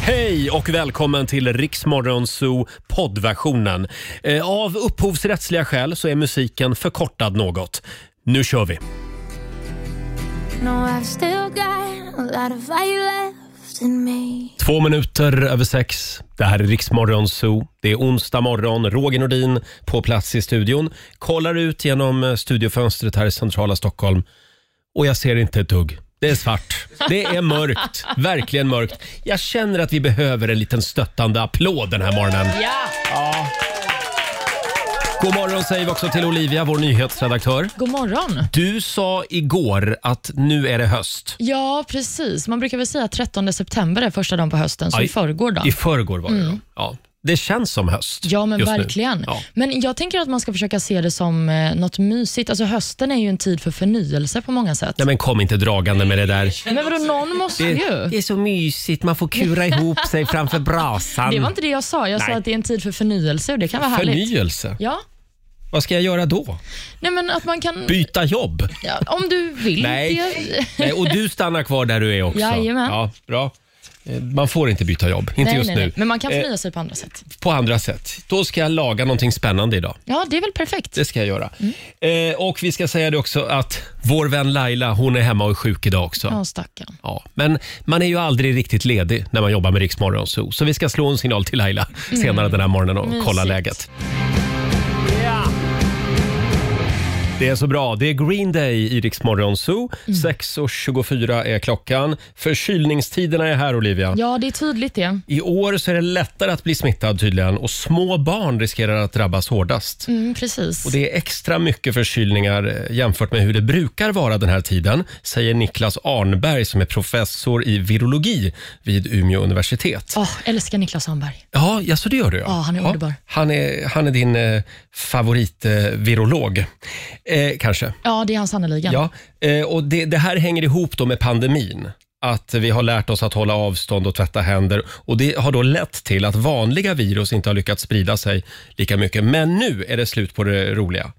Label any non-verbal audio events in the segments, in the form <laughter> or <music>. Hej och välkommen till Riksmorgon Zoo poddversionen. Eh, Av upphovsrättsliga skäl så är musiken förkortad något. Nu kör vi! No, I've still got a lot of fight left in me. Två minuter över sex. Det här är Riksmorgon Zoo. Det är onsdag morgon. Roger Nordin på plats i studion. Kollar ut genom eh, studiofönstret här i centrala Stockholm och jag ser inte ett dugg. Det är svart. Det är mörkt. Verkligen mörkt. Jag känner att vi behöver en liten stöttande applåd den här morgonen. Ja. God morgon säger vi också till Olivia, vår nyhetsredaktör. God morgon. Du sa igår att nu är det höst. Ja, precis. Man brukar väl säga att 13 september är första dagen på hösten, så Ja, i- i förrgår då. I förrgår var det då. Ja. Det känns som höst Mm. Ja, men just nu. verkligen. Ja. Men jag tänker att man ska försöka se det som eh, något mysigt. Alltså hösten är ju en tid för förnyelse på många sätt. Nej men kom inte dragande med det där. Men vadå, någon måste ju. är så mysigt, man får kura ihop sig framför brasan. Det var inte det jag sa. Jag Nej. sa att det är en tid för förnyelse och det kan vara härligt. Förnyelse? Ja, Vad ska jag göra då? nej men att man kan... Byta jobb? Ja, om du vill. Nej. Det... Nej, och du stannar kvar där du är också. Jajamän. Ja, bra. Eh, Man får inte byta jobb, inte nej, just nej, nu. nej. Men man kan Eh, förnya sig på andra sätt. På andra sätt. Då ska jag laga någonting spännande idag. Ja, det är väl perfekt. Det ska jag göra. Eh, och vi ska säga det också att vår vän Laila, hon är hemma och är sjuk idag också. Ja, stackarn. Ja, men man är ju aldrig riktigt ledig när man jobbar med Rix Morgon Zoo. Så vi ska slå en signal till Laila senare den här morgonen och kolla Mm. Mysigt. läget. Det är så bra. Det är Green Day i Rix Morgon Zoo. Mm. 6.24 är klockan. Förkylningstiderna är här, Olivia. Ja, det är tydligt det. I år så är det lättare att bli smittad tydligen och små barn riskerar att drabbas hårdast. Mm, precis. Och Det är extra mycket förkylningar eh, jämfört med hur det brukar vara den här tiden, säger Niklas Arnberg som är professor i virologi vid Umeå universitet. Åh, älskar Niklas Sandberg. Ja, ja så det gör du ja. Ja, han är underbar. Han är, han är din eh, favoritvirolog, eh, kanske. Ja, det är han sannerligen. Ja, eh, och det, det här hänger ihop då med pandemin. Att vi har lärt oss att hålla avstånd och tvätta händer. Och Det har då lett till att vanliga virus inte har lyckats sprida sig lika mycket. Men nu är det slut på det roliga.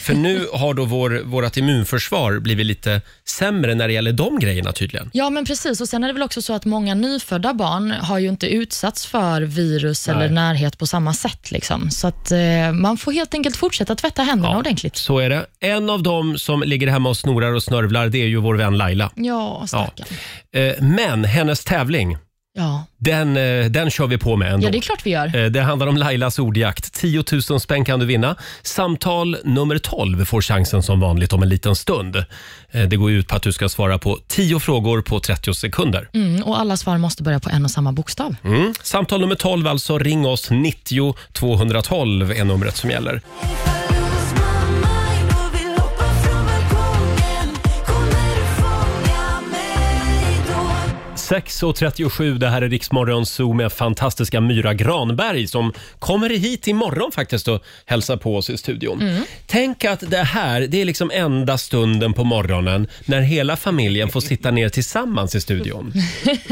För nu har då vår, vårt immunförsvar blivit lite sämre när det gäller de grejerna tydligen. Ja, men precis. Och Sen är det väl också så att många nyfödda barn har ju inte utsatts för virus Nej. eller närhet på samma sätt. Liksom. Så att eh, man får helt enkelt fortsätta tvätta händerna ordentligt. Så är det. En av dem som ligger hemma och snorar och snörvlar, det är ju vår vän Laila. Ja, Ja. stackarn. Eh, Men hennes tävling, Ja. den, eh, den kör vi på med ändå. Ja. det är klart vi gör. Eh, Det handlar om Lailas ordjakt. 10 000 spänn kan du vinna. Samtal nummer 12 får chansen som vanligt om en liten stund. Eh, Det går ju ut på att du ska svara på 10 frågor på 30 sekunder. Mm, och Alla svar måste börja på en och samma bokstav. Mm. Samtal nummer 12 alltså. Ring oss. 90 212 är numret som gäller. Kommer 6.37, det här är Riksmorgon Zoo med fantastiska Myra Granberg som kommer hit imorgon faktiskt och hälsar på oss i studion. Tänk att det här, det är liksom enda stunden på morgonen när hela familjen får sitta ner tillsammans i studion.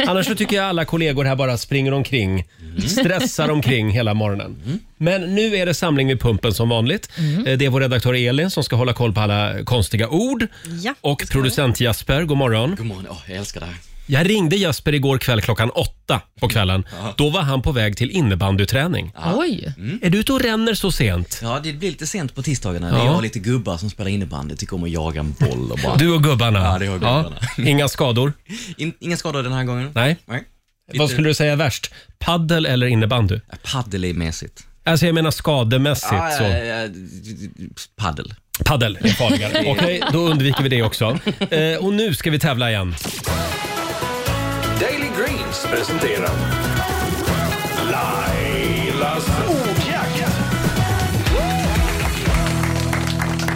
Annars så tycker jag alla kollegor här bara springer omkring, stressar omkring hela morgonen. Men nu är det samling vid pumpen som vanligt. Eh, Det är vår redaktör Elin som ska hålla koll på alla konstiga ord. Ja, och producent Jasper, god morgon. God morgon. Åh, jag älskar det här. Jag ringde Jesper igår kväll klockan åtta på kvällen. Mm. Då var han på väg till innebandyträning. Oj! Är du ute och ränner så sent? Ja, det blir lite sent på tisdagarna. Det Ja. är jag och lite gubbar som spelar innebandy. Tycker om att jaga en boll och bara... Du och gubbarna? Ja, det var gubbarna. Inga skador? <laughs> In, inga skador den här gången? Nej. Nej. Vad skulle du säga är värst? Paddel eller innebandy? Paddel är mässigt. Alltså jag menar skademässigt Ah, ja, så. ja, ja, paddel. Paddel är farligare. <laughs> Okej, då undviker vi det också. Eh, och nu ska vi tävla igen. Daily Greens presenterar Lailas ordjakt.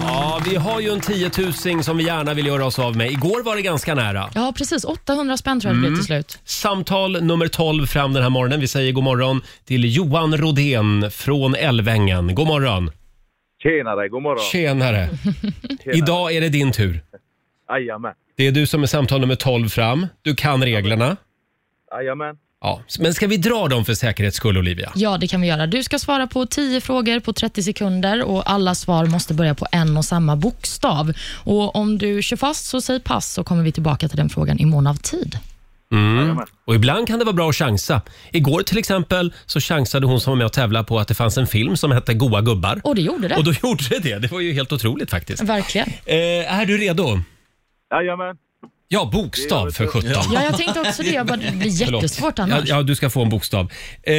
Ja, vi har ju en tiotusing som vi gärna vill göra oss av med. Igår var det ganska nära. Ja, precis. 800 spänn tror jag det blev Mm. till slut. Samtal nummer 12 fram den här morgonen. Vi säger god morgon till Johan Rodén från Älvängen. God morgon! Tjenare, god morgon. Tjenare! Idag är det din tur. Jajamän. Det är du som är samtal nummer 12 fram. Du kan reglerna. Jajamän. Ja. Men ska vi dra dem för säkerhets skull, Olivia? Ja, det kan vi göra. Du ska svara på 10 frågor på 30 sekunder och alla svar måste börja på en och samma bokstav. Och Om du kör fast, så säg pass så kommer vi tillbaka till den frågan i mån av tid. Mm. Och ibland kan det vara bra att chansa. Igår till exempel så chansade hon som var med och tävlade på att det fanns en film som hette Goa gubbar. Och det gjorde det. Och då gjorde det det. Det var ju helt otroligt faktiskt. Verkligen. Eh, är du redo? Jajamän. Ja, bokstav för sjutton. Ja, jag tänkte också det. Jag bara, det blir Förlåt. jättesvårt annars. Ja, ja, du ska få en bokstav. Eh,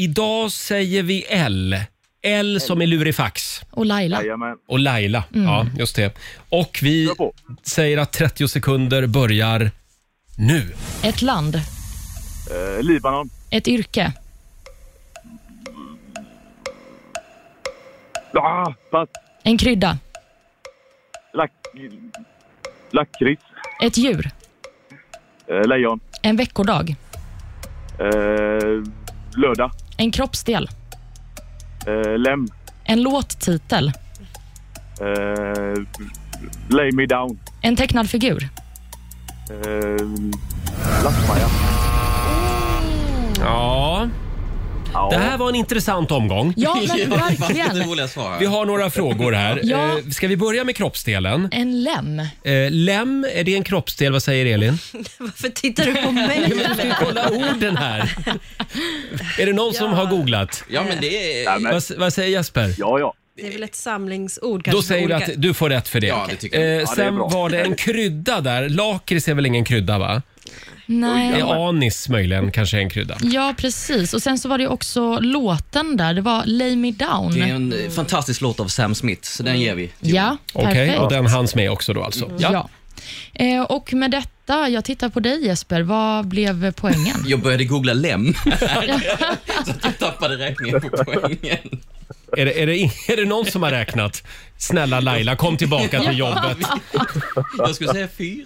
idag säger vi L. L som är lurifax. Och Laila. Jajamän. Och Laila. Mm. Ja, just det. Och vi Kör på. säger att 30 sekunder börjar nu. Ett land. Eh, Libanon. Ett yrke. Ah, pass. En krydda. Lack... Lakrits. Ett djur. Eh, lejon. En veckodag. Eh, lördag. En kroppsdel. Eh, lem. En låttitel. Eh, lay me down. En tecknad figur. Eh, Lappmaja. Ja, Ja. det här var en intressant omgång. Ja, <laughs> men Det verkligen. borde jag svara. Vi har några <laughs> frågor här. Ja. Eh, Ska vi börja med kroppsdelen? En lem. Eh, Lem, är det en kroppsdel? Vad säger Elin? <laughs> Varför tittar du <laughs> på mig? Kolla <laughs> orden här. Är det någon som har googlat? Ja, men det är... Vad, vad säger Jesper? Ja, ja. Det är väl ett samlingsord kanske. Då för säger du olika- att du får rätt för det. Ja, det tycker jag. Eh, det är sen bra. var det en krydda där. Lakrits är väl ingen krydda va? Nej. Eh, anis möjligen kanske är en krydda. Ja, precis. Och Sen så var det ju också låten där. Det var Lay Me Down. Det är en eh, fantastisk låt av Sam Smith, så den ger vi. Ja, Okej, perfekt. Mm. och den hanns med också då alltså. ja. Ja. Eh, och med detta, jag tittar på dig Jesper. Vad blev poängen? Jag började googla <laughs> lem, så att jag tappade räkningen på poängen. Är, det, är, det, <laughs> är det någon som har räknat? Snälla Laila, kom tillbaka <laughs> till jobbet. Jag skulle säga fyra.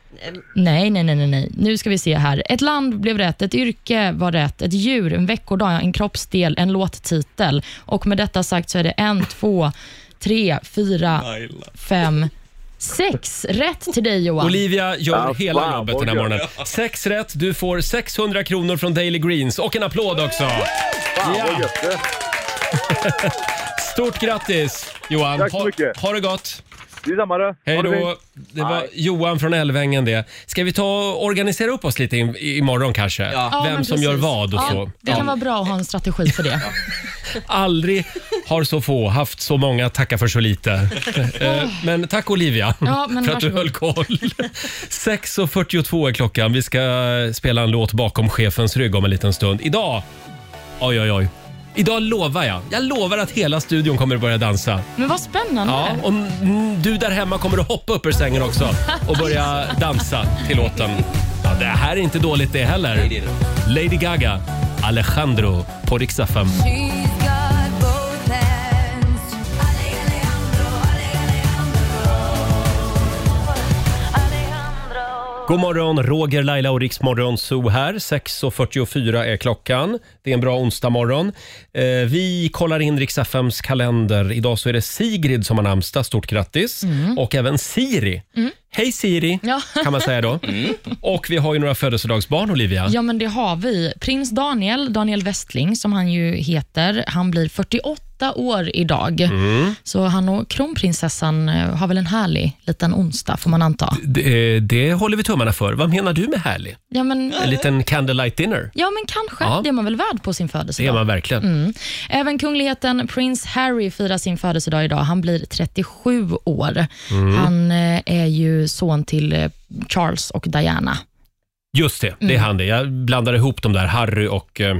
<laughs> nej, nej, nej, nej, nej. Nu ska vi se här. Ett land blev rätt, ett yrke var rätt, ett djur, en veckodag, en kroppsdel, en låttitel. Och med detta sagt så är det en, två, tre, fyra, fem, sex rätt till dig Johan. Olivia gör Ja, hela fan, jobbet den här vad morgonen. Sex rätt, du får 600 kronor från Daily Greens och en applåd också. Fan, Ja. vad gött det. Stort grattis Johan. Tack så Ha- mycket. Ha det gott. Det är samma det. Hej Ha det då. fint. Det var Hej. Johan från Älvängen det. Ska vi ta och organisera upp oss lite im- imorgon kanske? Ja. Vem men som precis. gör vad och ja, så. Det kan vara bra att ha en strategi för det. Aldrig har så få haft så många att tacka för så <laughs> lite. Eh, men tack Olivia Ja, men för att du varsågod. höll koll. <laughs> 6.42 är klockan. Vi ska spela en låt bakom chefens rygg om en liten stund. Idag, oj oj oj. Idag lovar jag. Jag lovar att hela studion kommer att börja dansa. Men vad spännande. Ja, och mm, du där hemma kommer att hoppa upp ur sängen också och börja dansa till låten. Ja, det här är inte dåligt det heller. det är Lady Gaga, Alejandro på Rix FM. She's got both hands. Ale, Alejandro, ale, Alejandro. God morgon, Roger, Laila och Riksmorgon Zoo här. 6.44 är klockan. Det är en bra onsdag morgon. Eh, vi kollar in Rix FMs kalender. Idag så är det Sigrid som har namnsdag. Stort grattis! Och även Siri. Hej Siri, Ja. kan man säga då. Och vi har ju några födelsedagsbarn, Olivia. Ja, men det har vi. Prins Daniel, Daniel Westling, som han ju heter, han blir 48 år idag. Mm. Så han och kronprinsessan eh, har väl en härlig liten onsdag, får man anta. Det, eh, det håller vi tummarna för. Vad menar du med härlig? Ja, men, En liten candlelight dinner? ja, men kanske. Ja. Det är man väl värd på sin Det är födelsedag. man verkligen. Mm. Även kungligheten prins Harry firar sin födelsedag idag. Han blir 37 år. Mm. Han eh, är ju son till eh, Charles och Diana. Just det, Mm. det är han det. Jag blandar ihop de där, Harry och eh,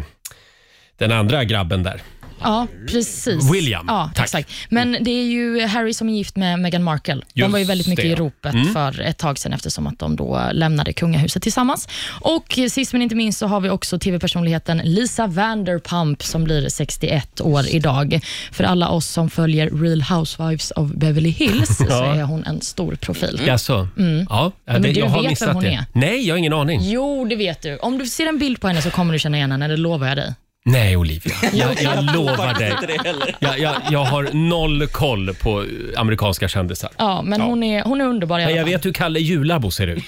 den andra grabben Mm. där. Ja, precis. William, Ja, tack. Exakt. Men det är ju Harry som är gift med Meghan Markle. De Just var ju väldigt mycket det. Mm. i ropet för ett tag sedan eftersom att de då lämnade kungahuset tillsammans. Och sist men inte minst så har vi också tv-personligheten Lisa Vanderpump som blir 61 år idag. För alla oss som följer Real Housewives of <laughs> Beverly Hills så är hon en stor profil. Jaså? Ja, det, Mm. men du jag har vet missat vem hon det. är. Nej, jag har ingen aning. Jo, det vet du. Om du ser en bild på henne så kommer du känna igen henne, det lovar jag dig. Nej, <laughs> Olivia. Jag, jag lovar dig. Inte det heller. Jag, jag, jag har noll koll på eh, amerikanska kändisar. Ja, men Hon, är, hon är underbar i alla Men jag fall. vet hur Kalle Julabo ser ut.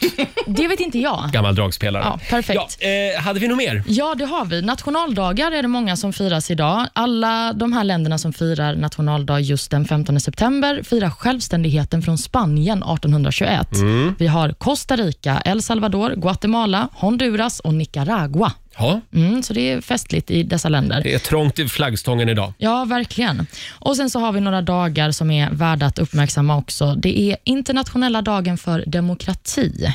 Det vet inte jag. Gammal dragspelare. Ja, perfekt. Ja, eh, hade vi något mer? Ja, det har vi. Nationaldagar är det många som firas idag. Alla de här länderna som firar nationaldag just den 15 september firar självständigheten från Spanien 1821. Vi har Costa Rica, El Salvador, Guatemala, Honduras och Nicaragua. Ja, Mm, så det är festligt i dessa länder. det är trångt i flaggstången idag. Ja, verkligen. Och Sen så har vi några dagar som är värda att uppmärksamma också. Det är internationella dagen för demokrati.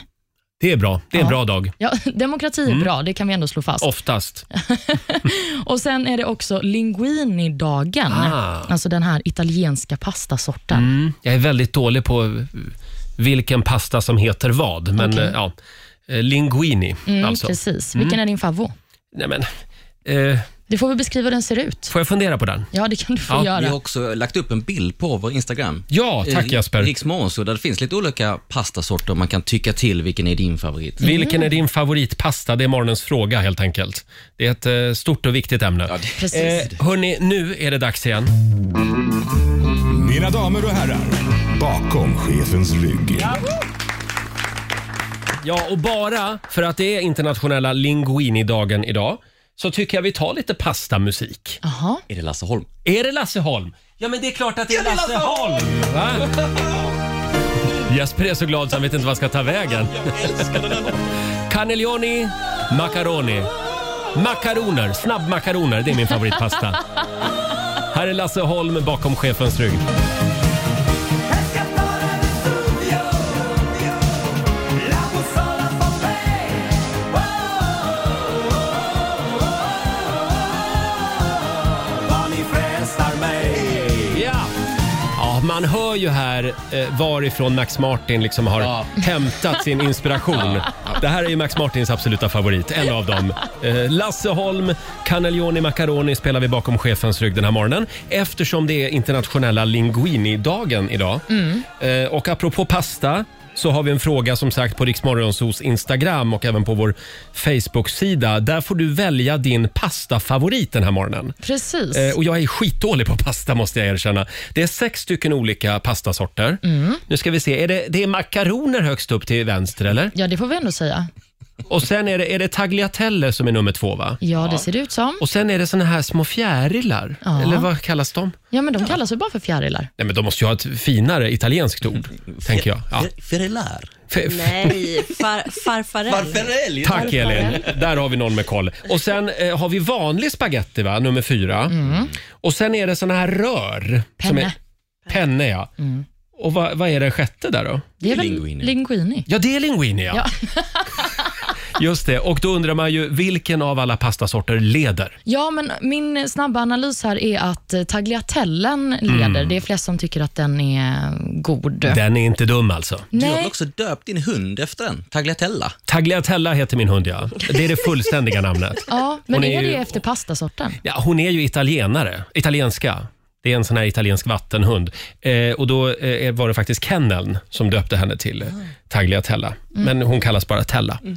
Det är bra. Det är en bra dag. Ja, <laughs> demokrati är bra, det kan vi ändå slå fast. Oftast. Och Sen är det också linguini-dagen, Ah. alltså den här italienska pastasorten. Mm, jag är väldigt dålig på eh, vilken pasta som heter vad, men eh, ja. Eh, Linguini, Mm, alltså. Precis. Vilken är din favorit? Nej, men, eh, Du får väl beskriva hur den ser ut. får jag fundera på den? Ja, det kan du få Ja, vi Vi har göra. också lagt upp en bild på vår Instagram. Ja, tack Jesper. Riksmorgonso, där det finns lite olika pastasorter. Man kan tycka till vilken är din favorit. Vilken är din favoritpasta? Det är morgonens fråga helt enkelt. Det är ett eh, stort och viktigt ämne. Precis. Eh, hörni, nu är det dags igen. Mina damer och herrar, bakom chefens rygg. Ja, och bara för att det är internationella linguini-dagen idag så tycker jag vi tar lite pastamusik. Jaha. eh, Är det Lasse Holm? Är det Lasse Holm? Ja, men det är klart att det är Lasse Holm! Va? Jesper är så glad så han vet inte vad han ska ta vägen. Cannelloni, macaroni. Makaroner, snabbmakaroner, det är min favoritpasta. Här är Lasse Holm bakom chefens rygg. Ja. Ja, man hör ju här eh, varifrån Max Martin liksom har hämtat sin inspiration. Det här är ju Max Martins absoluta favorit, en av dem. Eh, Lasse Holm, Cannelloni Macaroni spelar vi bakom chefens rygg den här morgonen eftersom det är internationella linguini-dagen idag. Eh, och apropå pasta så har vi en fråga som sagt på Riksmorgonsos Instagram och även på vår Facebook-sida. Där får du välja din pastafavorit den här morgonen. Precis. Eh, Och jag är skitdålig på pasta måste jag erkänna. Det är sex stycken olika pastasorter. Nu ska vi se, är det, det är makaroner högst upp till vänster eller? Ja, det får vi ändå säga. Och sen är det, är det tagliatelle som är nummer två va? Ja, det ser det ut som. Och sen är det såna här små fjärilar, Ja. eller vad kallas de? Ja, men de kallas ju bara för fjärilar. Nej men de måste ju ha ett finare italienskt ord, tänker jag. Ja. Ferelär. F- f- Nej, far, farfarell. Farfarelli. Tack Elin, där har vi någon med koll. Och sen eh, har vi vanlig spaghetti va, nummer fyra. Och sen är det såna här rör. som Penne. Är, penne ja. Och vad, vad är den sjätte där då? Det är väl Linguini. linguini. Ja, det är linguini ja. <laughs> Just det, och då undrar man ju vilken av alla pastasorter leder? Ja, men min snabba analys här är att eh, tagliatellen leder. Det är flest som tycker att den är god. Mm. Den är inte dum alltså. Du har väl Nej, också döpt din hund efter den? Tagliatella. Tagliatella heter min hund ja. Det är det fullständiga namnet. ja, men Hon är, är ju- det efter pastasorten? Ja, hon är ju italienare, italienska. Det är en sån här italiensk vattenhund. Eh, och då eh, var det faktiskt kenneln som döpte henne till Ah. eh, Tagliatella. Men hon kallas bara Tella. Ja. Eh,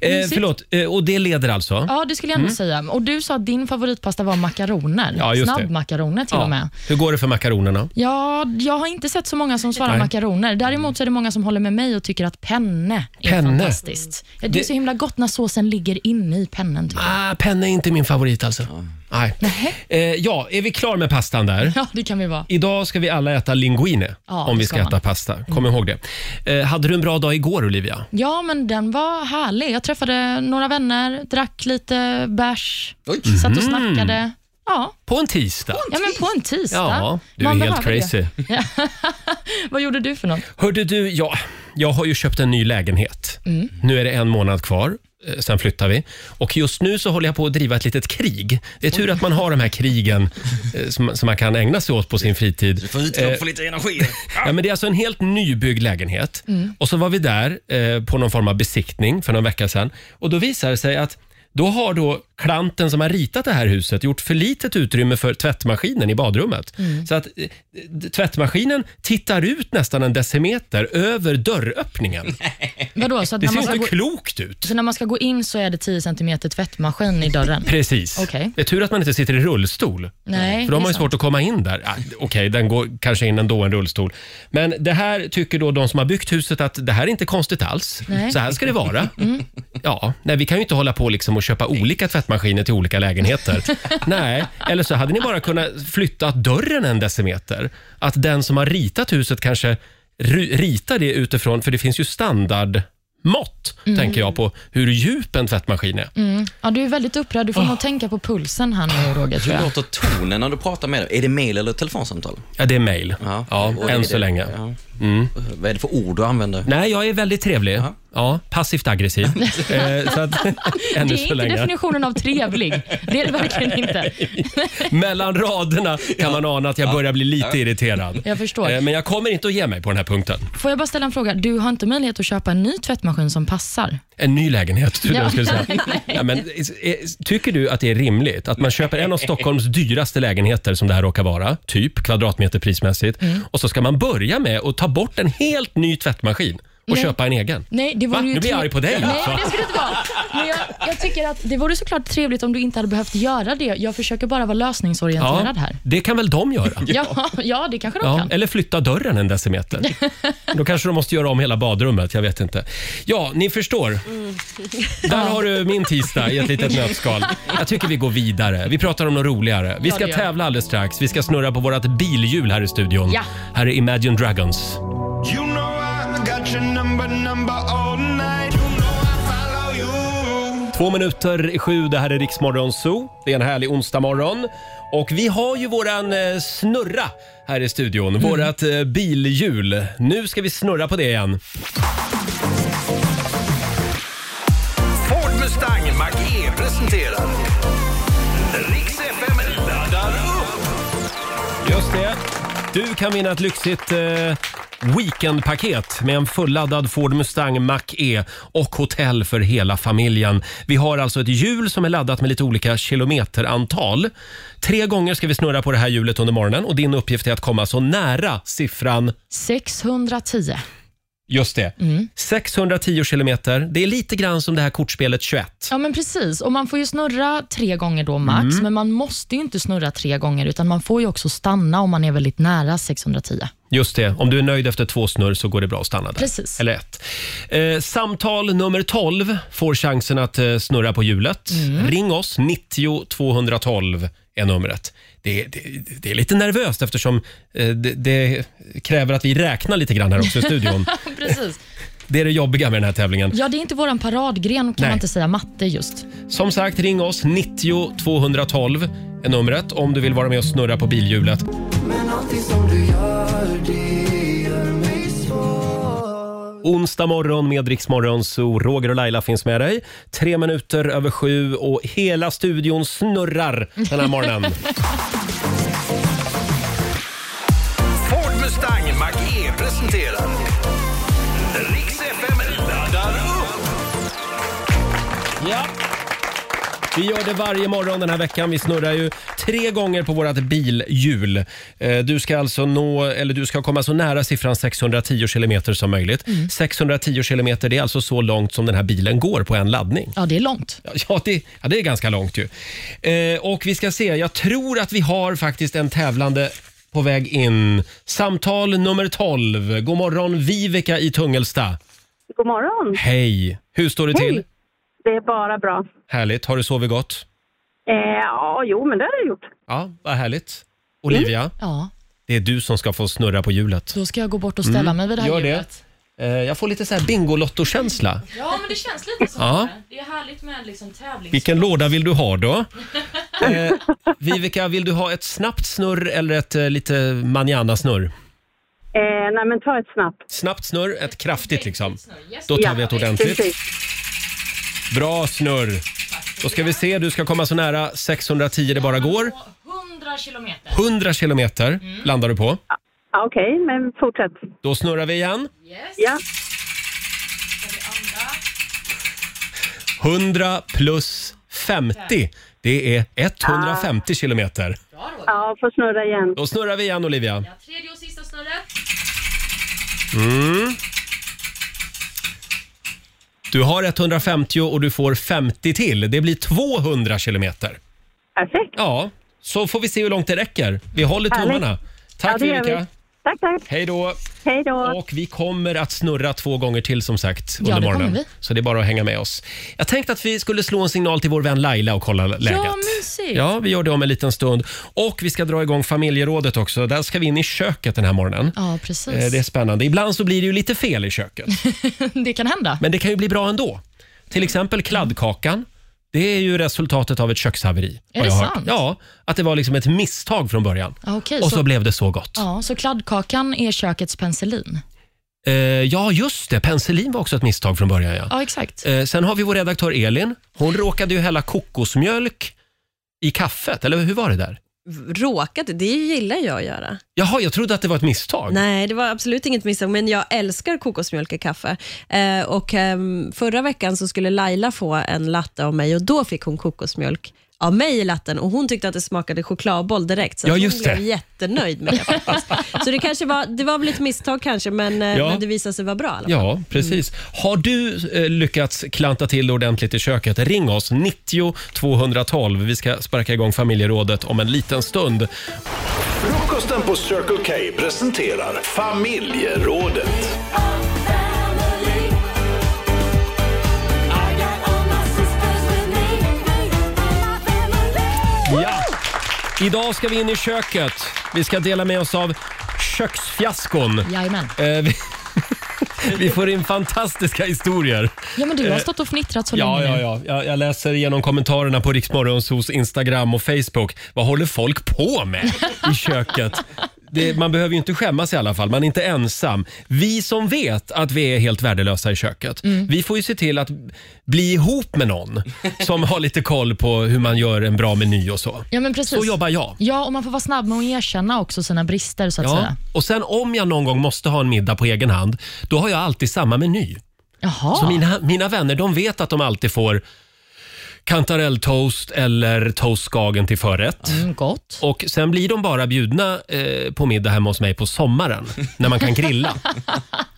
Mm. Mysigt. förlåt, eh, och det leder alltså? Ja, det skulle jag ändå säga. Och Du sa att din favoritpasta var makaroner. Ja, just det. Snabbmakaroner till och med. Hur går det för makaronerna? Ja, jag har inte sett så många som svarar Nej. Mm. makaroner. Däremot så är det många som håller med mig och tycker att penne är Penne? fantastiskt. Ja, Det är Det- så himla gott när såsen ligger inne i pennen. Typ. Ah, penne är inte min favorit alltså. Nej. <laughs> Eh, ja, är vi klar med pastan där? Ja, det kan vi vara. Idag ska vi alla äta linguine Ja, om det vi ska ska man. Mm. äta pasta. Kom ihåg det. Eh, hade du en bra dag igår Olivia? Ja, men den var härlig. Jag träffade några vänner, drack lite bärs, Oj. satt och Mm. snackade. Ja, På en tisdag? ja men på en tisdag. Ja, du är Man helt behöver crazy. Det. Vad gjorde du för något? Hörde du, ja, jag har ju köpt en ny lägenhet. Mm. Nu är det en månad kvar. eh, Sen flyttar vi. Och just nu så håller jag på att driva ett litet krig. Det är tur att man har de här krigen eh, som, som man kan ägna sig åt på sin fritid. Får utlopp för lite energi. Ja, men det är alltså en helt nybyggd lägenhet. Och så var vi där eh, på någon form av besiktning för någon vecka sedan. Och då visade det sig att Då har då klanten som har ritat det här huset gjort för litet utrymme för tvättmaskinen i badrummet. Mm. Så att eh, d- tvättmaskinen tittar ut nästan en decimeter över dörröppningen. Vadå, så att Det när ser man ju ska inte gå, klokt ut. så när man ska gå in så är det 10 cm tvättmaskin i <laughs> dörren? Precis. Okej. Det är tur att man inte sitter i rullstol. Nej, För då har man det är ju sant. svårt att komma in där. Ah, Okej, den går kanske in ändå, en rullstol. Men det här tycker då de som har byggt huset att det här är inte konstigt alls. Nej. Mm. Så här ska det <laughs> vara. Ja, nej, vi kan ju inte hålla på liksom och köpa olika tvättmaskiner till olika <laughs> lägenheter. nej, eller så hade ni bara kunnat flytta dörren en decimeter. Att den som har ritat huset kanske ri- ritar det utifrån, för det finns ju standardmått, Mm. tänker jag, på hur djup en tvättmaskin är. Ja, du är väldigt upprörd. Du får nog tänka på pulsen här nu, Roger, tror Hur jag. låter tonen när du pratar med dem? Är det mail eller telefonsamtal? Ja, det är mail. Ja, Ja. Och är än det- så länge. Mm. Ja. Vad är det för ord du använder? Nej, jag är väldigt trevlig. Ja, passivt aggressiv. <laughs> eh, så att, Det <laughs> ännu är så inte länge. definitionen av trevlig. Det är <laughs> det verkligen inte. Mellan raderna kan man ana att jag börjar bli lite irriterad. Jag förstår. Eh, men jag kommer inte att ge mig på den här punkten. Får jag bara ställa en fråga? Du har inte möjlighet att köpa en ny tvättmaskin som passar? En ny lägenhet, trodde Ja. jag skulle <laughs> säga. Ja, men, is- is- tycker du att det är rimligt att man köper en av Stockholms dyraste lägenheter, som det här råkar vara, typ kvadratmeterprismässigt, Mm. och så ska man börja med att ta bort en helt ny tvättmaskin och Nej. köpa en egen? Nej, det vore Va? ju Nu blir jag tre- arg på dig alltså. Nej, också. men det skulle det inte vara. Men jag, jag tycker att det vore såklart trevligt om du inte hade behövt göra det. Jag försöker bara vara lösningsorienterad här. det kan väl de <laughs> göra? Ja, ja, det kanske de Ja, kan. eller flytta dörren en <laughs> decimeter. Då kanske de måste göra om hela badrummet. Jag vet inte. Ja, ni förstår. Mm. <laughs> Där har du min tisdag i ett litet nötskal. Jag tycker vi går vidare. Vi pratar om något roligare. Vi Ja, ska det gör vi. tävla alldeles strax. Vi ska snurra på vårt bilhjul här i studion. Ja. Här är Imagine Dragons. You know I got your number, number all night. You know I follow you. Två minuter i sju, det här är Riksmorgon Zoo. Det är en härlig onsdagmorgon. Och vi har ju våran eh, snurra här i studion, Mm. vårat eh, bilhjul. Nu ska vi snurra på det igen. Ford Mustang Mach-E presenterar Riks FM laddar upp. Just det. Du kan vinna ett lyxigt eh, weekendpaket med en fulladdad Ford Mustang Mach-E och hotell för hela familjen. Vi har alltså ett hjul som är laddat med lite olika kilometerantal. Tre gånger ska vi snurra på det här hjulet under morgonen och din uppgift är att komma så nära siffran 610. Just det. 610 kilometer. Det är lite grann som det här kortspelet 21. Ja, men precis. Och Man får ju snurra tre gånger då max, Mm. men man måste ju inte snurra tre gånger, utan man får ju också stanna om man är väldigt nära 610. Just det. Om du är nöjd efter två snurr så går det bra att stanna där. Precis. Eller ett. Eh, samtal nummer 12 får chansen att eh, snurra på hjulet. Ring oss. 90 212 är numret. Det, det, det är lite nervöst eftersom eh, det, det kräver att vi räknar lite grann här också i studion. <laughs> Precis. Det är det jobbiga med den här tävlingen. Ja, det är inte våran paradgren, kan Nej. man inte säga, matte just. Som sagt, ring oss. 90 212 är numret om du vill vara med och snurra på bilhjulet. Onsdag morgon med Rix Morgon, så Roger och Laila finns med dig. Tre minuter över sju och hela studion snurrar den här morgonen. Ford Mustang Mach-E presenterar Riks FM laddar upp. Ja. Vi gör det varje morgon den här veckan. Vi snurrar ju tre gånger på vårt bilhjul. Eh, Du ska alltså nå, eller du ska komma så nära siffran 610 kilometer som möjligt. 610 kilometer, det är alltså så långt som den här bilen går på en laddning. Ja, det är långt. Ja, det, ja, det är ganska långt ju. Eh, och vi ska se, jag tror att vi har faktiskt en tävlande på väg in. Samtal nummer 12. God morgon Viveka i Tungelsta. <laughs> God morgon. Hej! Hur står det till? Det är bara bra. Härligt. Har du sovit gott? Eh, ja, jo, men det har jag gjort. Ja, vad härligt. Olivia, Mm. Ja, det är du som ska få snurra på hjulet. då ska jag gå bort och ställa mig vid det här Mm. Gör det. hjulet. Eh, Jag får lite så här Bingolotto-känsla. Ja, men det känns lite så. Ja. Det är härligt med liksom tävling. Vilken låda vill du ha <laughs> då? Eh, Viveka, vill du ha ett snabbt snurr eller ett eh, lite manjana-snurr? Eh, nej, men ta ett snabbt. Snabbt snurr, ett kraftigt liksom. Då tar vi ett ordentligt. Precis. Bra snurr. Då ska vi se, du ska komma så nära 610 det bara går. 100 kilometer. 100 kilometer landar du på. Ja, Okej, men fortsätt. Då snurrar vi igen. Ja, 100 plus 50. Det är 150 kilometer. Ja, får snurra igen. Då snurrar vi igen Olivia. Tredje och sista snurret. Mm. Du har 150 och du får 50 till. Det blir 200 kilometer. Perfekt. Ja, så får vi se hur långt det räcker. Vi håller Härligt. tummarna. Tack det gör vi. Erika. Tack, tack. Hej då. Hej då. Och vi kommer att snurra två gånger till som sagt Ja, under det kommer morgonen. vi. Så det är bara att hänga med oss. Jag tänkte att vi skulle slå en signal till vår vän Laila och kolla läget. mysigt. Ja, vi gör det om en liten stund. Och vi ska dra igång familjerådet också. Där ska vi in i köket den här morgonen. Ja, precis. Eh, Det är spännande. Ibland så blir det ju lite fel i köket, <laughs> det kan hända. men det kan ju bli bra ändå. Till exempel kladdkakan. Det är ju resultatet av ett kökshaveri. har det jag hört. sant? Ja, att det var liksom ett misstag från början. Ja, okej, Och så, så- blev det så gott. Ja, så kladdkakan är kökets penicillin. Eh, ja, just det. Penicillin var också ett misstag från början. Ja. Ja, exakt. Eh, sen har vi vår redaktör Elin. Hon råkade ju hälla kokosmjölk i kaffet, eller hur var det där? Råkat, det gillar jag att göra. Jaha, jag trodde att det var ett misstag. Nej, det var absolut inget misstag, men jag älskar kokosmjölk i kaffe. Eh, och, ehm, förra veckan så skulle Laila få en latte av mig och då fick hon kokosmjölk av mig i latten och hon tyckte att det smakade chokladboll direkt. Så Ja, att just hon blev det. jättenöjd med det faktiskt. Så det, kanske var, det var väl ett misstag kanske, men, eh, Ja. men det visade sig vara bra. i alla fall. Ja, precis. Har du eh, lyckats klanta till det ordentligt i köket? Ring oss, 90 212. Vi ska sparka igång familjerådet om en liten stund. Frukosten på Circle K presenterar familjerådet. Ja! Idag ska vi in i köket. Vi ska dela med oss av köksfiaskon. Jajamän. Eh, vi, <laughs> vi får in fantastiska historier. Ja, men du har stått och fnittrat så Eh. Ja, länge ja, nu. ja. Jag, jag läser igenom kommentarerna på Riksmorgons hos Instagram och Facebook. Vad håller folk på med i köket? Det, man behöver ju inte skämmas i alla fall. Man är inte ensam. Vi som vet att vi är helt värdelösa i köket, vi får ju se till att bli ihop med någon som har lite koll på hur man gör en bra meny och så. Ja, men precis. Så jobbar jag. Ja, och man får vara snabb med att erkänna också sina brister så att Ja. säga. Och sen om jag någon gång måste ha en middag på egen hand, då har jag alltid samma meny. Jaha. Så mina, mina vänner de vet att de alltid får kantarelltoast eller toastskagen till förrätt. Mm, gott. Och Sen blir de bara bjudna eh, på middag hemma hos mig på sommaren när man kan grilla.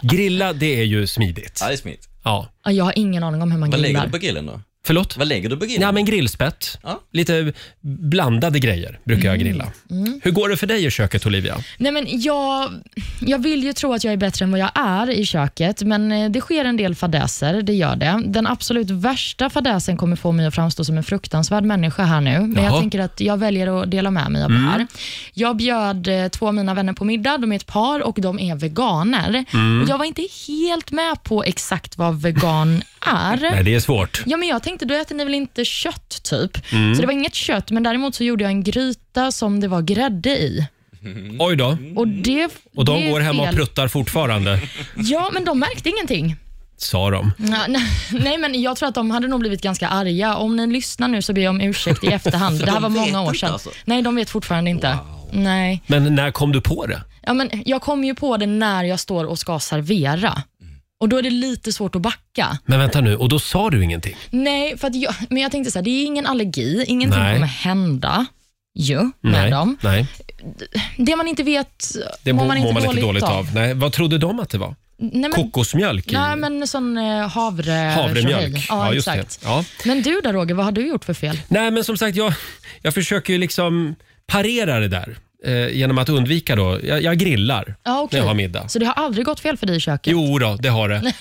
grilla, det är ju smidigt. Ja, det är smidigt. Ja. Ja, jag har ingen aning om hur man Vad lägger grillar. du på grillen då? Förlåt? Vad lägger du på grillen? Ja, men grillspett. Ja. Lite blandade grejer brukar jag grilla. Hur går det för dig i köket, Olivia? Nej, men jag, jag vill ju tro att jag är bättre än vad jag är i köket, men eh, det sker en del fadäser. Det gör det. Den absolut värsta fadäsen kommer få mig att framstå som en fruktansvärd människa här nu, men Jaha. jag tänker att jag väljer att dela med mig av Mm. det här. Jag bjöd eh, två av mina vänner på middag. De är ett par och de är veganer. Mm. Och jag var inte helt med på exakt vad vegan <laughs> är. Nej, det är svårt. Ja, men jag tänkte, då äter ni väl inte kött typ? Mm. Så det var inget kött, men däremot så gjorde jag en gryta som det var grädde i. Oj då. Och, det, Mm. Och de det är går hemma och fel. pruttar fortfarande, Ja, men de märkte ingenting. sa de. Ja, <laughs> nej, Nej, men jag tror att de hade nog blivit ganska arga. Om ni lyssnar nu så ber jag om ursäkt <laughs> i efterhand. Det här de var vet många år inte sedan. alltså? Nej, de vet fortfarande inte. Nej. Men när kom du på det? Ja, men jag kom ju på det när jag står och ska servera. Mm. Och då är det lite svårt att backa. Men vänta nu, och då sa du ingenting? Nej, för att jag, men jag tänkte så här, det är ingen allergi, ingenting Nej. kommer hända ju med Nej. dem. Nej. Det man inte vet Det mår man inte, dåligt, dåligt av. Nej, vad trodde de att det var? Nej, men, Kokosmjölk? i- nej, men sån eh, havre... Havremjölk. tjohej. Ja, Ja, just exakt. det. Ja. Men du då Roger, vad har du gjort för fel? Nej, men som sagt, jag, jag försöker ju liksom parera det där eh, genom att undvika då. Jag, jag grillar Ja, okej. när jag har middag. Så det har aldrig gått fel för dig i köket? Jo då, det har <laughs> det.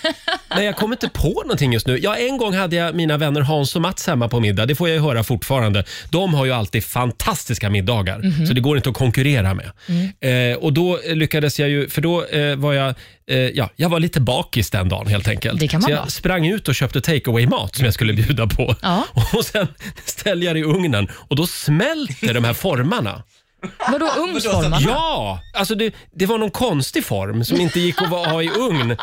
Nej, jag kommer inte på någonting just nu. Ja, en gång hade jag mina vänner Hans och Mats hemma på middag. Det får jag ju höra fortfarande. De har ju alltid fantastiska middagar, Mhm. så det går inte att konkurrera med. Mm. Eh, och då lyckades jag ju, för då eh, var jag, eh, ja, jag var lite bakis den dagen helt enkelt. Det kan man så jag vara. sprang ut och köpte takeaway-mat som jag skulle bjuda på. Ja. <laughs> Och sen ställde jag det i ugnen och då smälter de här formarna. Vadå ugnsformarna? Ja, alltså det, det var någon konstig form som inte gick att va- ha i ugn.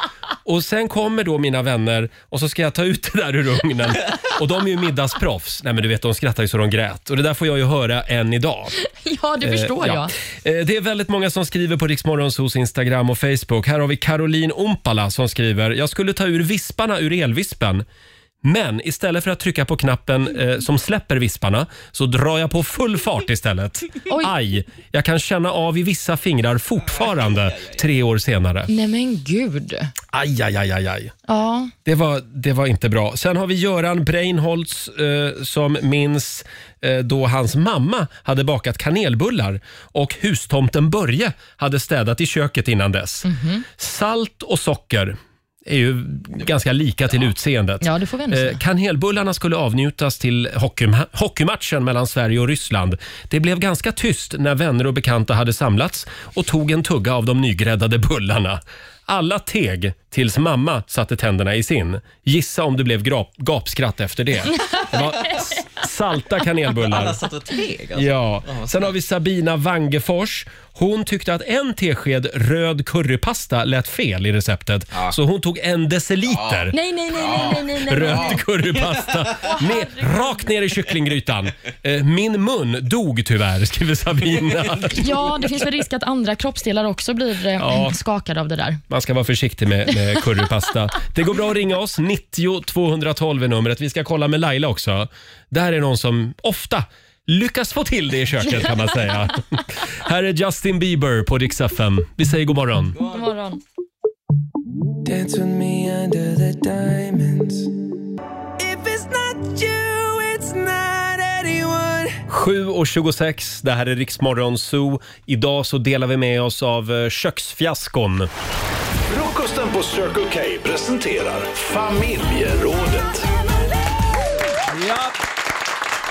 Och sen kommer då mina vänner och så ska jag ta ut det där ur ugnen. Och de är ju middagsproffs. Nej men du vet, de skrattar ju så de grät. Och det där får jag ju höra än idag. <laughs> Ja, det förstår Eh, jag. Eh, Det är väldigt många som skriver på Riksmorgons hos Instagram och Facebook. Här har vi Caroline Ompala som skriver “Jag skulle ta ur visparna ur elvispen, Men istället för att trycka på knappen eh, som släpper visparna så drar jag på full fart istället. Oj. Aj! Jag kan känna av i vissa fingrar fortfarande tre år senare. Nej men gud. Aj, aj, aj, aj, aj. Ja. Det var, det var inte bra. Sen har vi Göran Breinholtz eh, som minns eh, då hans mamma hade bakat kanelbullar och hustomten Börje hade städat i köket innan dess. Salt och socker är ju ganska lika till utseendet. Ja, det får vi ändå säga. Eh, Kanelbullarna skulle avnjutas till hockeyma- hockeymatchen mellan Sverige och Ryssland. Det blev ganska tyst när vänner och bekanta hade samlats och tog en tugga av de nygräddade bullarna. Alla teg tills mamma satte tänderna i sin. Gissa om det blev grap- gapskratt efter det. Det <laughs> var s- salta kanelbullar. Alla satt och teg alltså. Ja. Sen har vi Sabina Wangefors. Hon tyckte att en tesked röd currypasta lät fel i receptet. Så hon tog en deciliter Nej, nej, nej, nej, nej, nej, nej. röd currypasta ner, rakt ner i kycklinggrytan. Eh, Min mun dog tyvärr, skriver Sabina. Ja, det finns väl risk att andra kroppsdelar också blir eh, skakade av det där. Man ska vara försiktig med, med currypasta. Det går bra att ringa oss. 90 212 är numret. Vi ska kolla med Laila också. Där är någon som ofta lyckas få till det i köket kan man säga. Här är Justin Bieber på Rix FM. Vi säger god morgon. God morgon. Dance with me under the diamonds. 7.26, det här är Riksmorgon Zoo. Idag så delar vi med oss av eh, köksfiaskon. Frukosten på Circle K presenterar Familjerådet.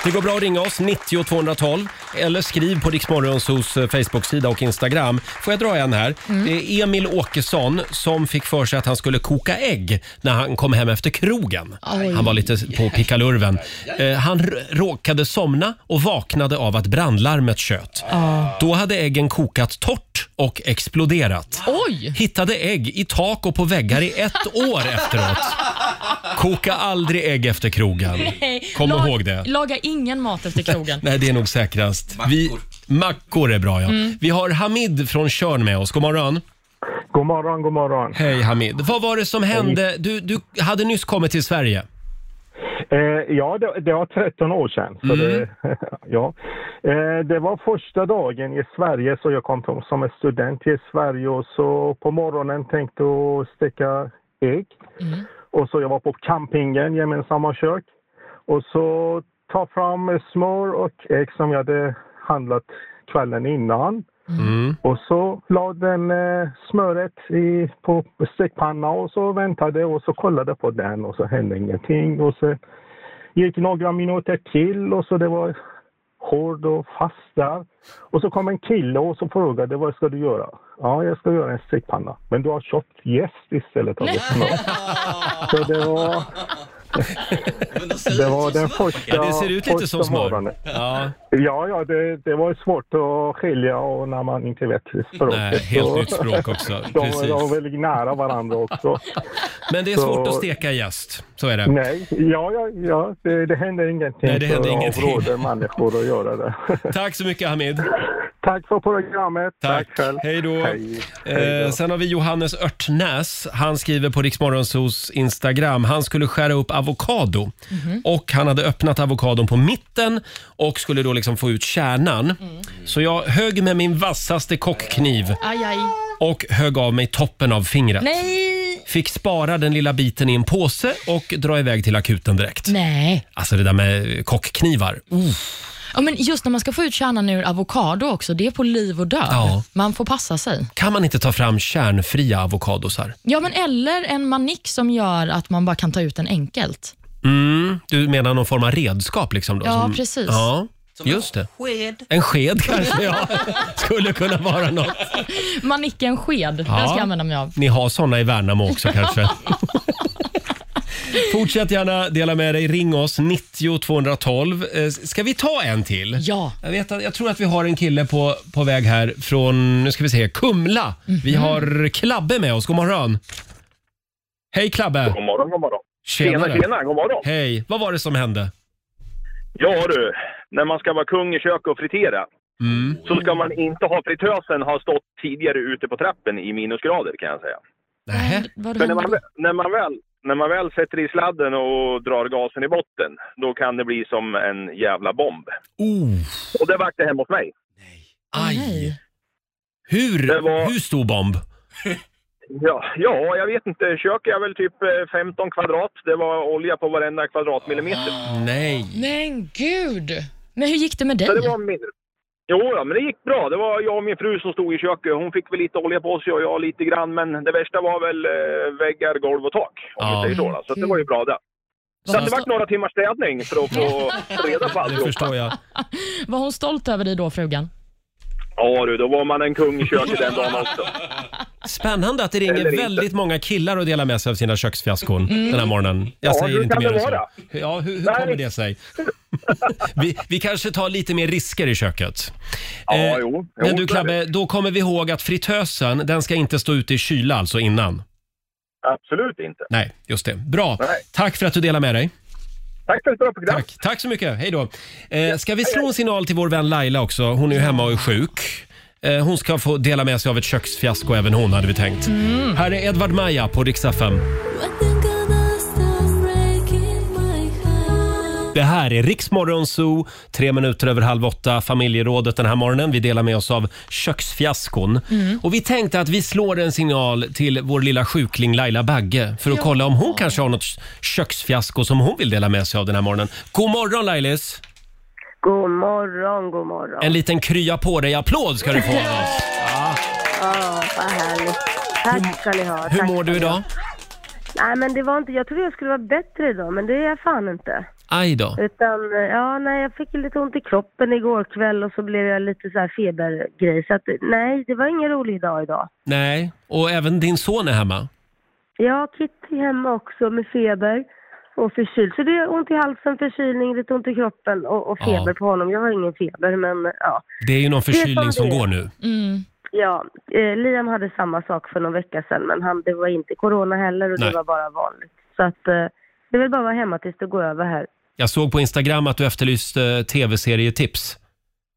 Det går bra att ringa oss, 90 212 eller skriv på Riksmorgonsos Facebook-sida och Instagram. Får jag dra en här? Mm. Det är Emil Åkesson som fick för sig att han skulle koka ägg när han kom hem efter krogen. Oj. Han var lite på pickalurven. Eh, Han r- råkade somna och vaknade av att brandlarmet tjöt. Då hade äggen kokat torrt och exploderat. Oj! Hittade ägg i tak och på väggar i ett år efteråt. Koka aldrig ägg efter krogen. Kom Lag- ihåg det. Laga ingen mat efter krogen. Nej, det är nog säkrast. Vi, Mackor. mackor är bra, ja. Vi har Hamid från Körn med oss. God morgon. God morgon, god morgon. Hej Hamid. Vad var det som hände? Du, du hade nyss kommit till Sverige. Eh, ja, det, det var 13 år sedan. Så det, <laughs> ja. eh, det var första dagen i Sverige, så jag kom som- som en student till Sverige och så på morgonen tänkte jag steka ägg. Och så jag var på campingen, gemensamma kök. Och så ta fram smör och ägg som jag hade handlat kvällen innan. Mm. Och så la den eh, smöret i, på stekpanna och så väntade och så kollade på den och så hände ingenting. Och så gick några minuter till och så det var hård och fast där. Och så kom en kille och så frågade vad ska du göra? Ja, jag ska göra en stekpanna. Men du har köpt jäst istället av smör. Så det var, Men då ser det ut var som den smör. första... Ja, det ser ut lite som första smör. morgonen. Ja, Ja, ja det, det var svårt att skilja och när man inte vet språket. nej, helt så- nytt språk också. de, Precis. de är väldigt nära varandra också. Men det är svårt att steka jäst. Så är det. Nej, ja, ja, ja det, det händer ingenting. Nej, det händer Så jag ingenting. avråder människor att göra det. <laughs> Tack så mycket Hamid. Tack för programmet. Tack. själv. Hej då. Hej. Hej Eh, då. sen har vi Johannes Örtnäs. Han skriver på Riksmorgonsos Instagram. Han skulle skära upp avokado. Mhm. Och Han hade öppnat avokadon på mitten och skulle då liksom få ut kärnan. Mm. Så jag högg med min vassaste kockkniv Aj, aj. och högg av mig toppen av fingret. Nej! Fick spara den lilla biten i en påse och dra iväg till akuten direkt. Nej. Mm. Alltså det där med kockknivar. Ja, men just när man ska få ut kärnan ur avokado också, det är på liv och död. Ja. Man får passa sig. Kan man inte ta fram kärnfria avokadosar? Ja, men eller en manik som gör att man bara kan ta ut den enkelt. Mm, du menar någon form av redskap liksom? Då, Ja, precis. Ja, just det. En sked kanske ja. skulle kunna vara något. Manicken sked, den ska Ja. jag använda mig av. Ni har såna i Värnamo också kanske? Fortsätt gärna dela med dig. Ring oss, 90 212. Eh, Ska vi ta en till? Ja. Jag, vet att, jag tror att vi har en kille på, på väg här från nu ska vi se, Kumla. Vi har Klabbe med oss. God morgon. Hej Klabbe! God morgon, god morgon. Tjenare. god morgon. Hej! Vad var det som hände? Ja du, när man ska vara kung i kök och fritera Mm. så ska man inte ha fritösen ha stått tidigare ute på trappen i minusgrader kan jag säga. Nähä. Vad För när hände man, då? väl- när man väl när man väl sätter i sladden och drar gasen i botten, då kan det bli som en jävla bomb. Oh, Och det vart det hemma hos mig. aj! Hur, hur stor bomb? Ja, ja, jag vet inte. Köket är väl typ eh, 15 kvadrat. Det var olja på varenda kvadratmillimeter. Nej! Men gud! Men hur gick det med dig? Så det var min... Jo, ja, men det gick bra. Det var jag och min fru som stod i köket. Hon fick väl lite olja på sig och jag lite grann. Men det värsta var väl eh, väggar, golv och tak, om vi Ja. säger så. då. Så det var ju bra det. Så att det vart några timmars städning för att <laughs> få reda på Det allt. förstår jag. Var hon stolt över dig då, frugan? Ja du, då var man en kung i köket den dagen <laughs> också. Spännande att det Eller ringer inte. väldigt många killar och delar med sig av sina köksfiaskon Mm. den här morgonen. Jag Ja, säger hur inte kan mer det än så. vara? Ja, hur, hur Nej. kommer det sig? <laughs> vi, vi kanske tar lite mer risker i köket. Eh, Ja, jo. Jo, men du så är Klabbe, då kommer vi ihåg att fritösen, den ska inte stå ute i kyla alltså innan. Absolut inte. Nej, just det. Bra. Tack för att du delar med dig. Tack för ett bra program. Tack, Tack så mycket. Hej då. Eh, ska vi slå en signal till vår vän Laila också? Hon är ju hemma och är sjuk. Eh, hon ska få dela med sig av ett köksfiasko även hon, hade vi tänkt. Mm. Här är Edvard Maja på Rix FM. Det här är Riksmorgon Zoo, tre minuter över halv åtta, familjerådet den här morgonen. Vi delar med oss av köksfiaskon. Mm. Och vi tänkte att vi slår en signal till vår lilla sjukling Laila Bagge för att Ja. kolla om hon kanske har något köksfiasko som hon vill dela med sig av den här morgonen. God morgon Lailis! God morgon, god morgon. En liten krya på dig-applåd ska du få av oss. Ja, Ah, vad härligt. Tack ska ni ha. Hur tack mår ska du ni ha. idag? Nej, men det var inte, jag trodde jag skulle vara bättre idag, men det är jag fan inte. Aj då. Utan, eh, ja, nej, jag fick ju lite ont i kroppen igår kväll och så blev jag lite så här febergrej. Så att, nej, det var ingen rolig dag idag. Nej, och även din son är hemma. Jag har Kitty hemma också med feber och förkyld. Så det är ont i halsen, förkylning, lite ont i kroppen och, och feber Ja. på honom. Jag har ingen feber, men eh, ja. Det är ju någon Det är som förkylning som det är. går nu. Ja, eh, Liam hade samma sak för någon vecka sedan men han, det var inte corona heller och Nej. det var bara vanligt. Så att eh, det vill bara vara hemma tills det går över här. Jag såg på Instagram att du efterlyste tv-serietips.